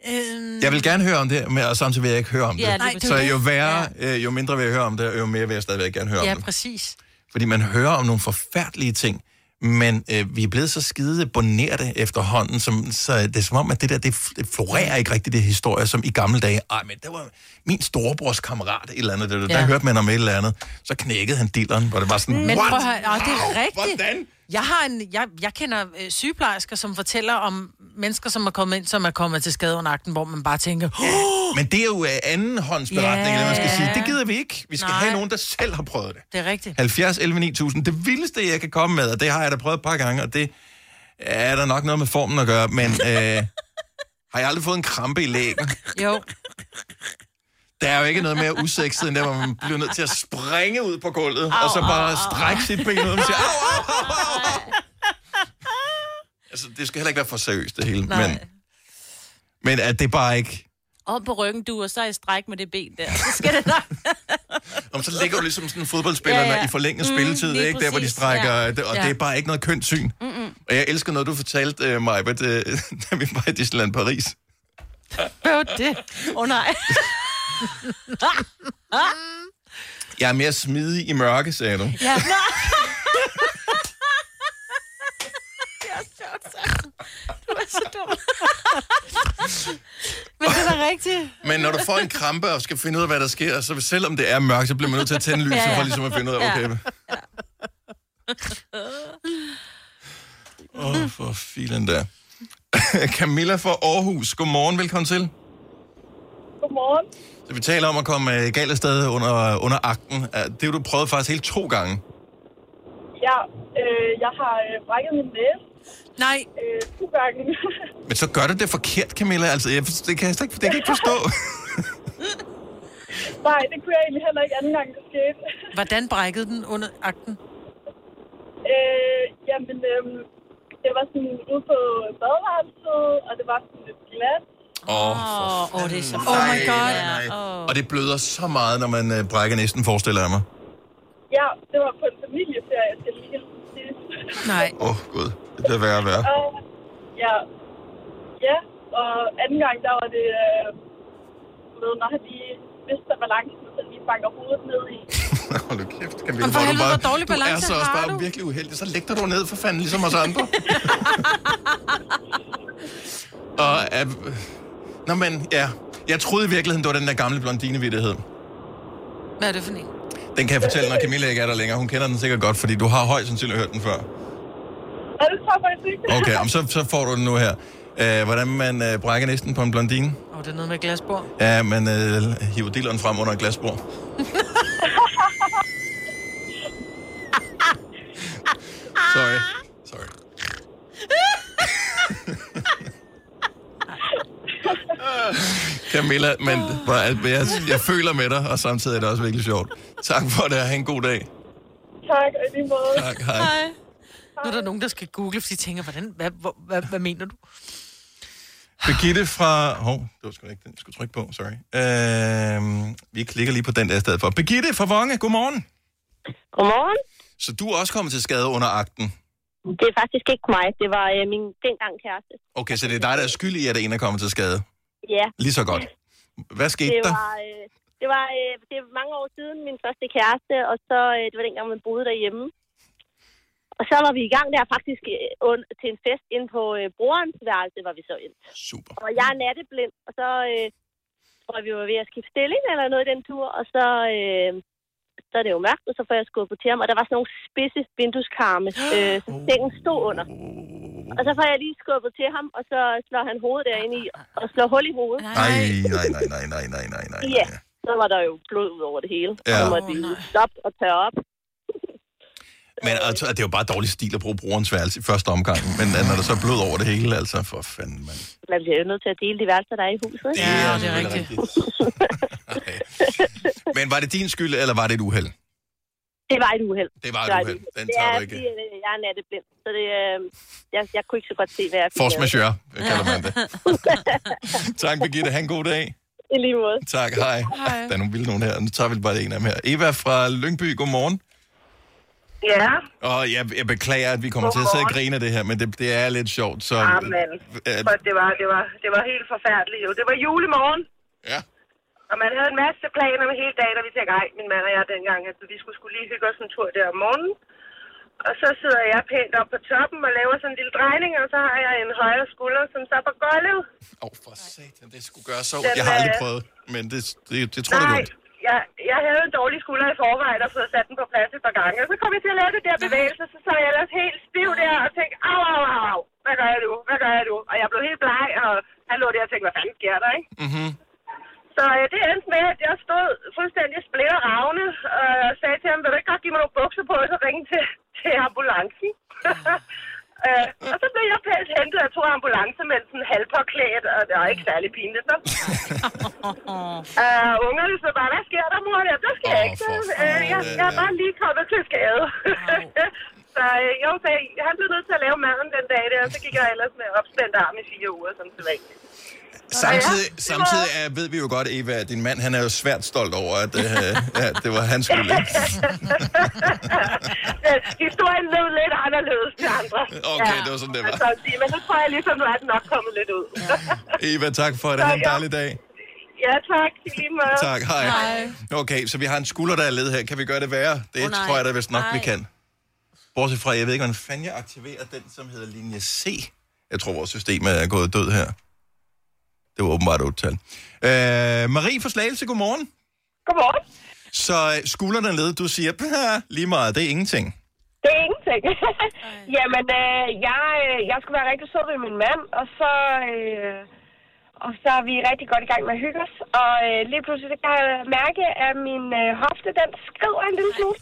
S3: øhm,
S1: Jeg vil gerne høre om det, men og samtidig vil jeg ikke høre om
S3: Ja,
S1: det.
S3: lige præcis.
S1: så jo, værre, øh, jo mindre vil jeg høre om det, og jo mere vil jeg stadigvæk gerne høre om
S3: ja,
S1: det.
S3: præcis.
S1: Fordi man hører om nogle forfærdelige ting, men øh, vi er blevet så skide bonerte efterhånden, som, så det er som om, at det der, det, f- det florerer ikke rigtigt, det historie, som i gamle dage. Ej, men det var min storebrors kammerat, et eller andet, der, ja. der
S3: Ja.
S1: hørte man om et eller andet. Så knækkede han dilleren, hvor det var sådan,
S3: Men
S1: what?
S3: prøv at høre, ah, det er rigtigt.
S1: Hvordan?
S3: Jeg, har en, jeg, jeg kender øh, sygeplejersker, som fortæller om mennesker, som er kommet ind, som er kommet til skade under akten, hvor man bare tænker, oh,
S1: Men det er jo øh, andenhåndsberetning, yeah. eller hvad man skal sige. Det gider vi ikke. Vi skal
S3: Nej.
S1: Nej. have nogen, der selv har prøvet det.
S3: det er rigtigt.
S1: 70 11 9000. Det vildeste, jeg kan komme med, og det har jeg da prøvet et par gange, og det er der nok noget med formen at gøre, men øh, har jeg aldrig fået en krampe i lægen?
S3: Jo.
S1: Der er jo ikke noget mere usexet, end der, hvor man bliver nødt til at springe ud på gulvet, og så bare strække sit ben ud og sige, au, au, au, au. Altså, det skal heller ikke være for seriøst, det hele.
S17: Nej.
S1: Men, men at det er bare ikke...
S17: Om på ryggen, du, og så er i stræk med det ben der. Så
S1: [laughs]
S17: skal det nok.
S1: Om så ligger du ligesom sådan fodboldspillerne
S17: Ja,
S1: ja,
S17: ja.
S1: ja. i forlænget
S17: Mm,
S1: spilletid,
S17: lige
S1: ikke? Der, hvor de
S17: præcis,
S1: strækker...
S17: ja.
S1: Ja. Og
S17: Ja.
S1: det er bare ikke noget kønt syn.
S17: Mm-mm.
S1: Og jeg elsker noget, du fortalte øh, mig, but, øh, [laughs] da vi var i Disneyland Paris.
S17: Bøv det. Åh oh,
S3: [laughs]
S17: nej.
S1: Jeg er mere smidig i mørke, sagde du.
S15: [laughs]
S17: ja. Det er sjovt, Søren. Du er så dum.
S3: [laughs] Men det er da rigtigt.
S1: Men når du får en krampe og skal finde ud af, hvad der sker, så selvom det er mørkt, så bliver man nødt til at tænde lyset
S3: Ja, ja.
S1: for ligesom at finde ud af, okay.
S3: Ja.
S1: Åh, oh, for filen der. [laughs] Camilla fra Aarhus, godmorgen, velkommen til.
S10: Godmorgen.
S1: Så vi taler om at komme øh, galt af sted under, under akten. Øh, Det har du prøvet faktisk hele to gange.
S10: Ja, øh, jeg har øh, brækket min næse.
S3: Nej.
S10: Øh, to gange.
S15: [laughs]
S1: Men så gør du det forkert, Camilla. Altså, jeg, for- det, kan jeg slet ikke, det kan jeg ikke
S3: [laughs]
S1: forstå.
S10: Nej, det kunne jeg egentlig heller ikke anden gang, det skete.
S3: Hvordan brækkede den under akten?
S10: øh, jamen, øh, det var sådan ude på badeværelset, og det var sådan lidt glat.
S1: Åh, oh,
S17: oh, det er så
S10: Oh my god.
S1: Nej, nej. Og det bløder så meget, når man øh, brækker næsten, forestiller jeg mig.
S10: Ja, det var på en familieferie, jeg skal lige hilse at sige. [laughs]
S3: Nej.
S1: Åh, oh, gud. Det bliver værre og værre.
S10: Og, ja, ja, og anden gang, der var det, øh, du ved, når han lige mister balancen, så lige banker hovedet ned i. [laughs]
S1: Hold nu kæft, Camilla.
S10: Og for
S1: hvor er
S10: helvede,
S1: bare,
S10: hvor dårlig
S1: du er
S10: balance
S1: så også
S10: har
S1: bare
S10: du?
S1: virkelig uheldig. Så lægger du ned for fanden, ligesom os
S10: [laughs]
S1: andre. og, øh, nå, men ja. Jeg troede i virkeligheden, det var den der gamle blondinevittighed.
S3: Hvad er det for en?
S1: Den kan jeg fortælle, når Camilla ikke er der længere. Hun kender den sikkert godt, fordi du har højst sandsynligt hørt den før.
S10: Og det tror jeg faktisk ikke.
S1: Okay, om så, så får du den nu her. Øh, hvordan man øh, brækker næsten på en blondine.
S3: Åh, oh, det er noget med glasbord.
S1: [laughs] Ja, man øh, hiver dilleren frem under et glasbord. Sorry. Sorry. Camilla, men hvor er- men jeg, jeg føler med dig, og samtidig er det også virkelig sjovt. Tak for det, og have en god dag.
S10: Tak, og i lige måde.
S1: Tak, hej. Hej.
S3: Nu er der nogen, der skal google, fordi de tænker, hvordan, hvad, hvor, hvad, hvad mener du?
S1: Birgitte fra... Hov, det var sgu da ikke den, jeg skulle trykke på, sorry. Øhm, vi klikker lige på den der i stedet for. Birgitte fra Vonge, godmorgen.
S9: Godmorgen.
S1: Så du er også kommet til skade under akten.
S9: Det er faktisk ikke mig. Det var øh, min dengang kæreste.
S1: Okay, så det er dig, der er skyld i, at en er kommet til skade.
S9: Ja.
S1: Lige så godt. Hvad skete
S9: det
S1: der?
S9: var, øh, det var øh, det er mange år siden min første kæreste, og så øh, det var dengang, man boede derhjemme. Og så var vi i gang der faktisk øh, und, til en fest ind på øh, brorens værelse, var vi så ind.
S1: Super.
S9: Og jeg er natteblind, og så øh, tror jeg, vi var ved at skifte stilling eller noget i den tur, og så, øh, så er det jo mørkt, og så får jeg skubbet til ham, og der var sådan nogle spidse
S1: [gasps]
S9: vindueskarme, øh, som sengen stod under. Og så får jeg lige skubbet til ham, og så slår han hovedet derinde i, og slår hul i hovedet.
S1: Nej, nej, nej, nej, nej, nej, nej, nej.
S9: Ja, så var der jo blod ud over det hele.
S1: Ja.
S9: Ja. Så måtte vi stoppe og tørre op.
S1: Men altså, det er jo bare dårlig stil at bruge brugerens værelse i første omgang. Men øh, når der så er blod over det hele, altså, for fanden, mand.
S9: Man bliver jo nødt til at dele de værelser, der er i huset.
S1: Ja, det er rigtigt. Men var det din skyld, eller var det et uheld?
S9: Det var et uheld.
S1: Det var et uheld. Den
S9: det
S1: tager
S9: er,
S1: du ikke.
S9: fordi, øh, jeg er natteblind, så det, øh, jeg, jeg kunne ikke så godt se, hvad jeg fik.
S1: Force
S9: lavet.
S1: majeure, kalder man det. Tak, Birgitte. Ha' en god dag.
S9: I lige måde.
S1: Tak, hej.
S9: Hej.
S1: Der er nogle vilde nogen her. Nu tager vi bare en af dem her. Eva fra Lyngby, godmorgen.
S18: Ja,
S1: Og jeg, jeg beklager, at vi kommer til at sidde og grine af det her, men det, det er lidt sjovt. Så, øh,
S18: amen. Ah,
S1: at-
S18: For det var, det, var, det var helt forfærdeligt jo. Det var julemorgen.
S1: Ja.
S18: Og man havde en masse planer med hele dagen, og vi tænkte, ej, min mand og jeg dengang, at vi skulle, skulle lige hygge os en tur der om morgenen. Og så sidder jeg pænt op på toppen og laver sådan en lille drejning, og så har jeg en højre skulder, som så er på gulvet.
S1: Åh, oh, for satan, det skulle gøre så ondt.
S18: Den,
S1: Jeg har aldrig
S18: øh,
S1: prøvet, men det, det, det tror jeg, det er ondt.
S18: Jeg, jeg havde en dårlig skulder i forvejen og fået sat den på plads et par gange. Og så kom jeg til at lave det der bevægelse, så sad jeg ellers helt stiv der og tænkte, au, au, au, au, hvad gør jeg nu, hvad gør jeg nu? Og jeg blev helt bleg, og han lå der og tænkte, hvad fanden sker der, ikke?
S1: Mm-hmm.
S18: Så øh, det endte med, at jeg stod fuldstændig splitter ravne og sagde til ham, vil du ikke godt give mig nogle bukser på, og så ringe til, til ambulancen? [laughs] Øh, og så blev jeg pænt hentet af to ambulancemænd, sådan halvpåklædt, og det var ikke særlig pinligt. Så. øh, ungerne så bare, hvad sker der, mor? Ja, der sker oh, ikke. noget. Øh, jeg, jeg er bare lige kommet til skade. [laughs] så øh, jo, så han blev nødt til at lave maden den dag der, og så gik jeg ellers med opspændt arm i fire uger, som det var. [laughs]
S1: Samtidig, samtidig er, ved vi jo godt, Eva, at din mand han er jo svært stolt over, at, øh, at det var hans skyld. ikke?
S18: [laughs] Øh, Historien lød lidt anderledes til andre.
S1: Okay, det var sådan, det var.
S18: Altså, men så tror jeg ligesom, nu er den nok kommet lidt ud.
S1: Eva, tak for det. Ha' en dejlig dag.
S18: ja, tak. I Lige måde.
S1: Tak, hej. Okay, så vi har en skulder, der er led her. Kan vi gøre det værre? Det
S18: Åh,
S1: oh,
S18: nej.
S1: tror jeg da vist nok, vi
S18: Nej.
S1: kan. Bortset fra, jeg ved ikke, hvordan fanden jeg aktiverer den, som hedder linje C. Jeg tror, vores system er gået død her. Det var åbenbart et otte-tal. Øh, Marie fra Slagelse, godmorgen.
S19: Godmorgen.
S1: Så øh, skulderen er led, du siger, "Pah, lige meget, det er ingenting.
S19: Det er ingenting. [laughs] Jamen, øh, jeg, øh, jeg skulle være rigtig sød ved min mand, og så, øh, og så er vi rigtig godt i gang med at hygge os. Og øh, lige pludselig så kan jeg mærke, at min øh, hofte, den skrider en lille smule.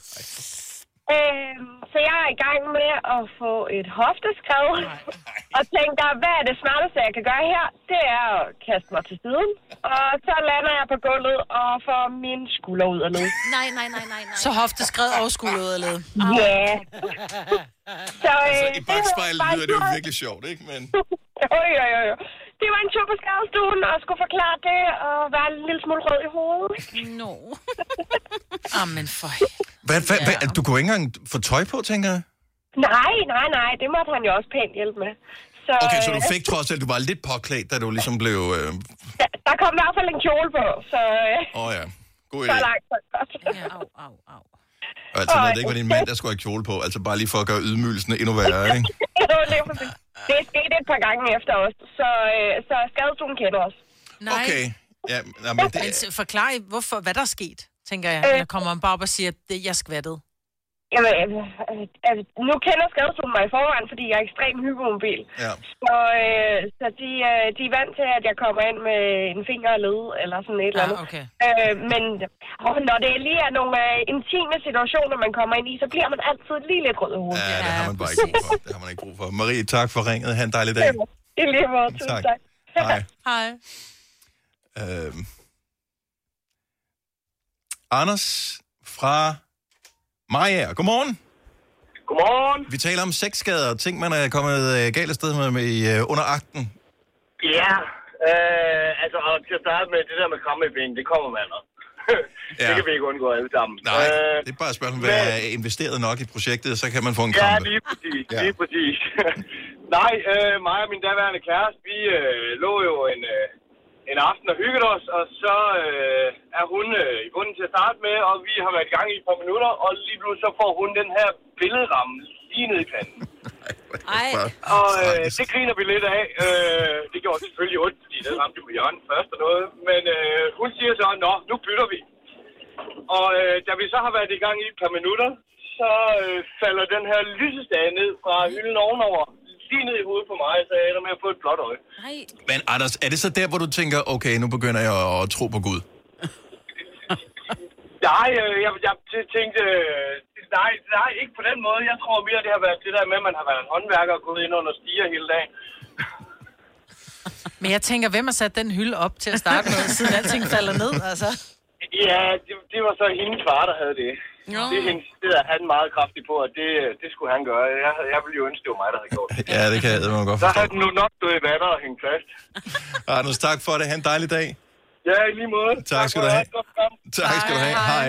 S19: Øh, så jeg er i gang med at få et hofteskred, [laughs] og tænker, hvad er det smarteste, jeg kan gøre her? Det er at kaste mig til siden, og så lander jeg på gulvet og får min skulder ud af noget.
S2: Nej, nej, nej,
S3: [laughs]
S2: nej, nej.
S3: Så hofte skred og skulder eller
S19: Ja. Så,
S1: [laughs] Altså,
S19: øh,
S1: i
S19: det var
S1: bagspejlet
S19: bare
S1: lyder det jo
S19: sjovt.
S1: virkelig sjovt, ikke? Men
S19: jo, jo, jo, jo. Det var en tur på skadestuen, og skulle forklare det, og være en lille smule rød i hovedet.
S3: No.
S19: [laughs]
S3: Amen for
S1: hvad, hvad, hvad, du kunne ikke engang få tøj på, tænker jeg?
S19: Nej, nej, nej, det måtte han jo også pænt hjælpe med. Så,
S1: Okay, så du
S19: øh,
S1: fik trods alt, du var lidt påklædt, da du ligesom blev... Åh øh,
S19: Der, der kom i hvert fald en kjole på, så... Øh,
S1: oh ja, god
S19: så
S1: idé.
S19: langt, så godt. [laughs]
S1: Og altså, jeg ved
S19: Ej.
S1: det ikke, hvad din mand, der skulle have kjole på. Altså, bare lige for at gøre ydmygelsen endnu værre, ikke?
S19: det var lige præcis. Det skete et par gange efter os, så, øh, så skadestuen kender os.
S3: Nej.
S1: Okay. Ja, nej, men det,
S3: Men forklar, hvorfor, hvad der er sket, tænker jeg.
S19: Øh.
S3: Eller kommer han bare op og siger, at det, jeg skvattede.
S19: Jamen, øh, øh, øh, nu kender skadestuen mig i forvejen, fordi jeg er ekstremt hypermobil.
S1: Ja.
S19: Så, øh, så de, øh, de er vant til, at jeg kommer ind med en finger og led, eller sådan et eller
S3: Ah,
S19: andet.
S3: okay.
S19: Øh, men åh, når det lige er nogle øh, intime situationer, man kommer ind i, så bliver man altid lige lidt rød i hovedet.
S1: ja, det har man bare ikke brug for. Det har man ikke brug for. Marie, tak for ringet. Ha' en dejlig dag.
S19: Det er lige måde.
S1: Tak.
S19: Tusind tak.
S18: [laughs]
S1: Hej.
S3: Hej.
S1: Øhm. Anders fra Maja. Godmorgen. Godmorgen. Vi taler om sexskader og ting, man er kommet øh, galt af sted med, med i, øh, under akten.
S20: Ja, øh, altså og til at starte med, det der med kramme i benen, det kommer man nok. [laughs] det
S1: Ja.
S20: kan vi ikke undgå alle sammen.
S1: Nej,
S20: Øh,
S1: det er bare et spørgsmål, hvad er investeret nok i projektet, så kan man få en
S20: ja,
S1: krampe.
S20: lige præcis, ja. lige præcis. [laughs] Nej, øh, mig og min daværende kæreste, vi øh, lå jo en, øh, en aften og hyggede os, og så øh, er hun øh, i bunden til at starte med, og vi har været i gang i et par minutter, og lige pludselig så får hun den her billedramme lige ned i panden.
S2: Ej.
S20: Og øh, det griner vi lidt af. Øh, det gjorde selvfølgelig ondt, fordi det ramte jo Jørgen først og noget. Men øh, hun siger så, nå, nu bytter vi. Og øh, da vi så har været i gang i et par minutter, så øh, falder den her lysestage ned fra hylden ovenover, lige ned i hovedet på mig, så jeg ender med at få et blåt øje.
S2: Nej.
S1: Men Anders, er det så der, hvor du tænker, okay, nu begynder jeg at tro på Gud?
S20: Nej, øh, jeg, jeg t- tænkte, øh, nej, nej, ikke på den måde. Jeg tror mere, det har været det der med, at man har været en håndværker og gået ind under stiger hele dagen.
S3: Men jeg tænker, hvem har sat den hylde op til at starte med, siden alting falder ned, altså?
S20: Ja, det, det var så hendes far, der havde det.
S3: Nå.
S20: Det, er hendes, det er han meget kraftig på, og det, det skulle han gøre. Jeg, jeg ville jo ønske, det var mig, der havde gjort det.
S1: Ja, det kan jeg eddermame godt
S20: Så
S1: forstå.
S20: havde den nu nok stået i vandet og hængt fast.
S1: Anders, tak for det. Ha' en dejlig dag.
S20: Ja, i lige måde.
S1: Tak, tak skal du have. Tak skal du have. Hej.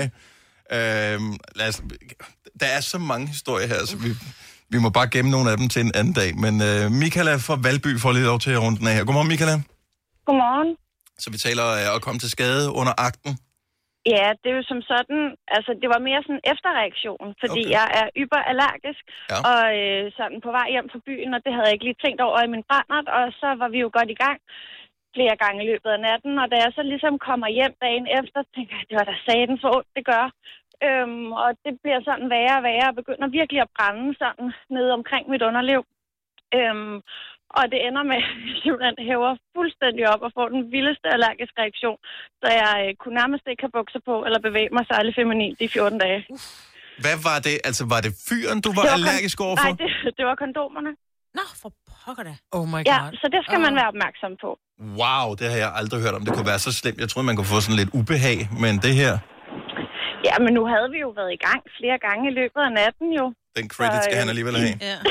S1: Øhm, lad os, der er så mange historier her, så vi, vi må bare gemme nogle af dem til en anden dag. Men øh, Michaela fra Valby får lidt lov til at runde den af her. Godmorgen, Michaela.
S21: Godmorgen.
S1: Så vi taler øh, at komme til skade under akten.
S21: Ja, det er jo som sådan, altså det var mere sådan en efterreaktion, fordi okay.
S1: Okay.
S21: jeg er yberallergisk,
S1: ja.
S21: og øh, sådan på vej hjem fra byen, og det havde jeg ikke lige tænkt over i min brændert, og så var vi jo godt i gang flere gange i løbet af natten, og da jeg så ligesom kommer hjem dagen efter, tænker jeg, det var da saten så ondt, det gør. Øhm, og det bliver sådan værre og værre, og begynder virkelig at brænde sådan nede omkring mit underliv. Øhm, og det ender med, [laughs] at jeg simpelthen hæver fuldstændig op og får den vildeste allergiske reaktion, så jeg øh, kunne nærmest ikke have bukser på eller bevæge mig særlig feminint i 14 dage.
S1: Hvad var det? Altså, var det fyren, du var,
S21: Det kon-
S1: allergisk overfor?
S21: Nej, det, [laughs] det var kondomerne. Nå, for pokker da.
S3: Oh my
S21: Ja,
S3: god.
S21: så det skal oh. man være opmærksom på.
S1: Wow, det har jeg aldrig hørt om. Det kunne være så slemt. Jeg troede, man kunne få sådan lidt ubehag, men det her,
S21: Ja, men nu havde vi jo været i gang flere gange i løbet af natten jo.
S1: den credit skal
S21: øh,
S1: han alligevel have.
S21: Ja, [laughs]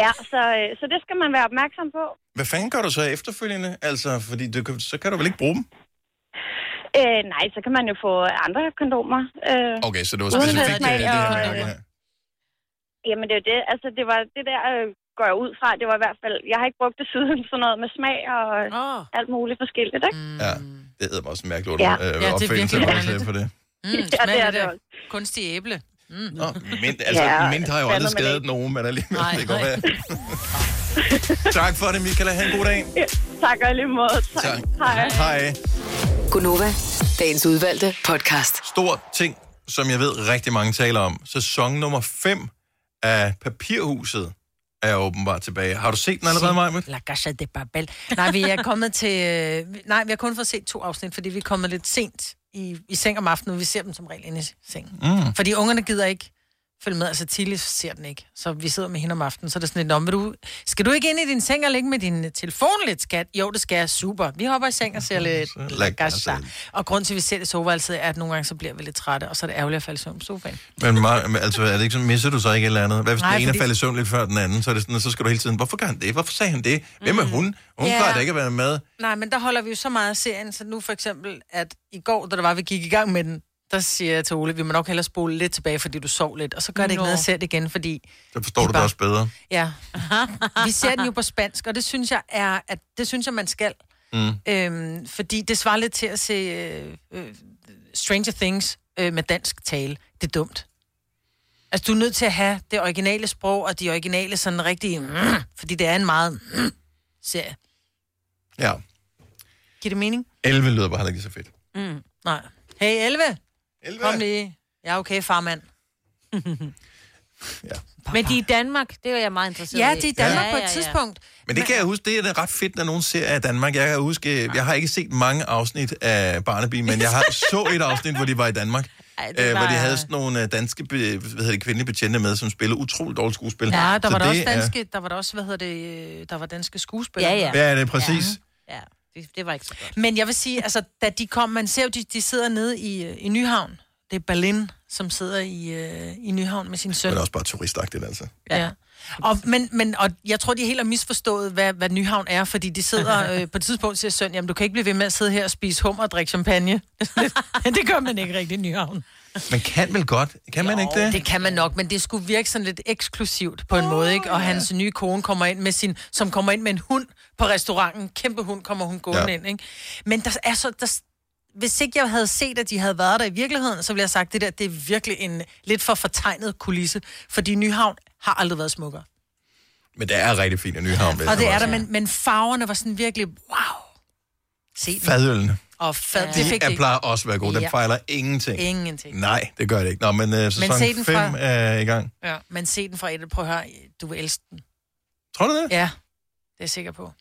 S21: ja så, øh, så det skal man være opmærksom på.
S1: Hvad fanden gør du så efterfølgende? Altså, fordi du, kan- så kan du vel ikke bruge dem?
S21: Øh, nej, så kan man jo få andre kondomer. Øh,
S1: Okay, så det var
S21: uden
S1: specifikt øh,
S21: smag
S1: det her
S21: og-
S1: mærke her.
S21: Jamen det er jo det. Altså det var det der, øh, går jeg ud fra, det var i hvert fald, jeg har ikke brugt det siden, sådan noget med smag og oh. alt muligt forskelligt, ikke? Mm.
S1: øh, Ja, det hedder mig også en mærkelig
S21: Ja.
S1: ja.
S21: Ja, det
S1: øh,
S21: er
S1: opfindelse,
S21: virkelig
S1: hvor man ser på det.
S3: Mm,
S21: Ja, det
S3: smag
S21: er
S3: af
S21: det
S3: Kunstig æble. Mm.
S1: Nå, mint, altså, ja,
S3: Ja,
S1: mint har jo
S3: fatter
S1: aldrig
S3: man
S1: skadet nogen, men alligevel, nej, det går være. [laughs] tak for det, Michael. Ha' en god dag.
S21: Ja, tak og i lige måde. Tak.
S1: Tak.
S21: Hej.
S1: Hej.
S4: Gunova, dagens udvalgte podcast.
S1: Stor ting, som jeg ved rigtig mange taler om. Sæson nummer 5 af Papirhuset er åbenbart tilbage. Har du set den allerede, Maja?
S3: La Casa de Babel. Nej, vi er kommet til... øh, vi- Nej, vi har kun fået set to afsnit, fordi vi er kommet lidt sent i, i seng om aftenen, og vi ser dem som regel inde i sengen.
S22: Mm.
S3: Fordi ungerne gider ikke følge med, altså Tilly ser den ikke. Så vi sidder med hende om aftenen, så er det sådan lidt, "Nå, men vil du, skal du ikke ind i din seng og ligge med din øh, telefon lidt, skat? Jo, det skal jeg. Super. Vi hopper i seng og ser lidt La Casa. Og grunden til, at vi ser det i soveværelset, er, at nogle gange så bliver vi lidt trætte, og så er det ærgerligt at falde i søvn på sofaen.
S1: Men Maja, men altså, er det ikke sådan, misser du så ikke et eller andet? Hvad hvis
S3: Nej,
S1: den ene
S3: fordi-
S1: falder i søvn lidt før den anden, så, er det sådan, at så skal du hele tiden, hvorfor gør han det? Hvorfor sagde han det? Hvem er hun? Hun
S3: Ja.
S1: yeah. plejer da ikke at være med.
S3: Nej, men der holder vi jo så meget af serien, så nu for eksempel, at i går, da der var, vi gik i gang med den, der siger jeg til Ole, vi må nok hellere spole lidt tilbage, fordi du sov lidt, og så gør det ikke
S1: Nå.
S3: noget at se det igen, fordi,
S1: Så forstår du det også bedre.
S3: ja, vi ser den jo på spansk, og det synes jeg er, at det synes jeg, man skal.
S1: Mm.
S3: Øhm, fordi det svarer lidt til at se øh, øh, Stranger Things øh, med dansk tale. Det er dumt. Altså, du er nødt til at have det originale sprog, og de originale sådan rigtige, mm, fordi det er en meget mm, serie.
S1: Ja.
S3: Giver det mening?
S1: 11 lyder bare heller ikke så fedt.
S3: Mm, nej. Hey, 11. 11. Kom lige. Ja, okay, farmand.
S2: Men de er i Danmark, det er jeg meget interesseret
S3: Ja,
S2: i.
S3: de er i Danmark på et tidspunkt.
S1: Men det kan jeg huske, det er da ret fedt, når nogen ser af Danmark. Jeg kan huske, jeg har ikke set mange afsnit af Barnaby, men jeg har
S3: [laughs]
S1: så et afsnit, hvor de var i Danmark.
S2: Ej, det
S1: øh, hvor de
S2: var-
S1: havde sådan nogle øh, danske be, hvad hedder det, kvindelige betjente med, som spillede utroligt dårligt skuespil.
S3: Ja, der
S1: Så
S3: var der
S1: det
S3: også
S1: er-
S3: danske, der var der også, hvad hedder det, øh, der var danske skuespillere.
S1: Ja, det er præcis.
S2: Ja, det, det var ikke så godt.
S3: Men jeg vil sige, altså, da de kom, man ser jo, de, de sidder nede i, øh, i Nyhavn. Det er Berlin, som sidder i, øh, i Nyhavn med sin søn.
S1: Men også bare turistagtigt,
S3: [laughs]
S1: altså.
S3: Ja. Og, men, men, og jeg tror, de helt har misforstået, hvad, hvad Nyhavn er, fordi de [laughs] sidder øh, på et tidspunkt siger søn, jamen du kan ikke blive ved med at sidde her og spise hummer og drikke champagne. [laughs] det gør man ikke rigtig i Nyhavn.
S1: Man kan vel godt? Kan man ikke det?
S3: Det kan man nok, men det skulle virke sådan lidt eksklusivt på en oh, måde, ikke? Og hans nye kone kommer ind med sin, som kommer ind med en hund på restauranten. Kæmpe hund kommer hun gående
S2: Ja.
S3: ja. ind, ikke? Men der er så, der, hvis ikke jeg havde set, at de havde været der i virkeligheden, så ville jeg have sagt, det der, det er virkelig en lidt for fortegnet kulisse, fordi Nyhavn har aldrig været smukkere.
S1: Men det er rigtig fint i Nyhavn. vil jeg
S3: Og det er
S1: også
S3: der,
S1: sige.
S3: men, men farverne var sådan virkelig, wow. Se den.
S1: Fadølene.
S3: Og fad, det
S1: De
S3: fik
S1: er plejer også at være gode. Den
S3: Ja.
S1: fejler ingenting.
S3: Ingenting.
S1: Nej, det gør det ikke. Nå, men øh, sæson
S3: se den
S1: 5
S3: fra-
S1: er i gang.
S3: Ja, men se den fra et, prøv at høre, du vil elske den.
S1: Tror du det?
S3: Ja, det er jeg sikker på.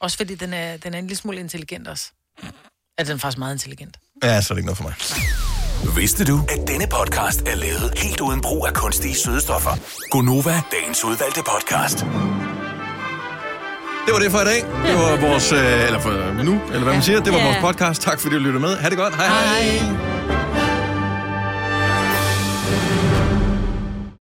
S3: Også fordi den er, den er en lille smule intelligent også. Ja, den er faktisk meget intelligent.
S1: Ja, så er det ikke noget for mig.
S13: Vidste du, at denne podcast er lavet helt uden brug af kunstige sødestoffer? Gonova, dagens udvalgte podcast.
S1: Det var det for i dag. Det var vores, øh, eller for nu, eller hvad man siger. Det var
S13: Ja.
S1: vores podcast. Tak fordi du lyttede med. Ha' det godt. Hej hej. hej.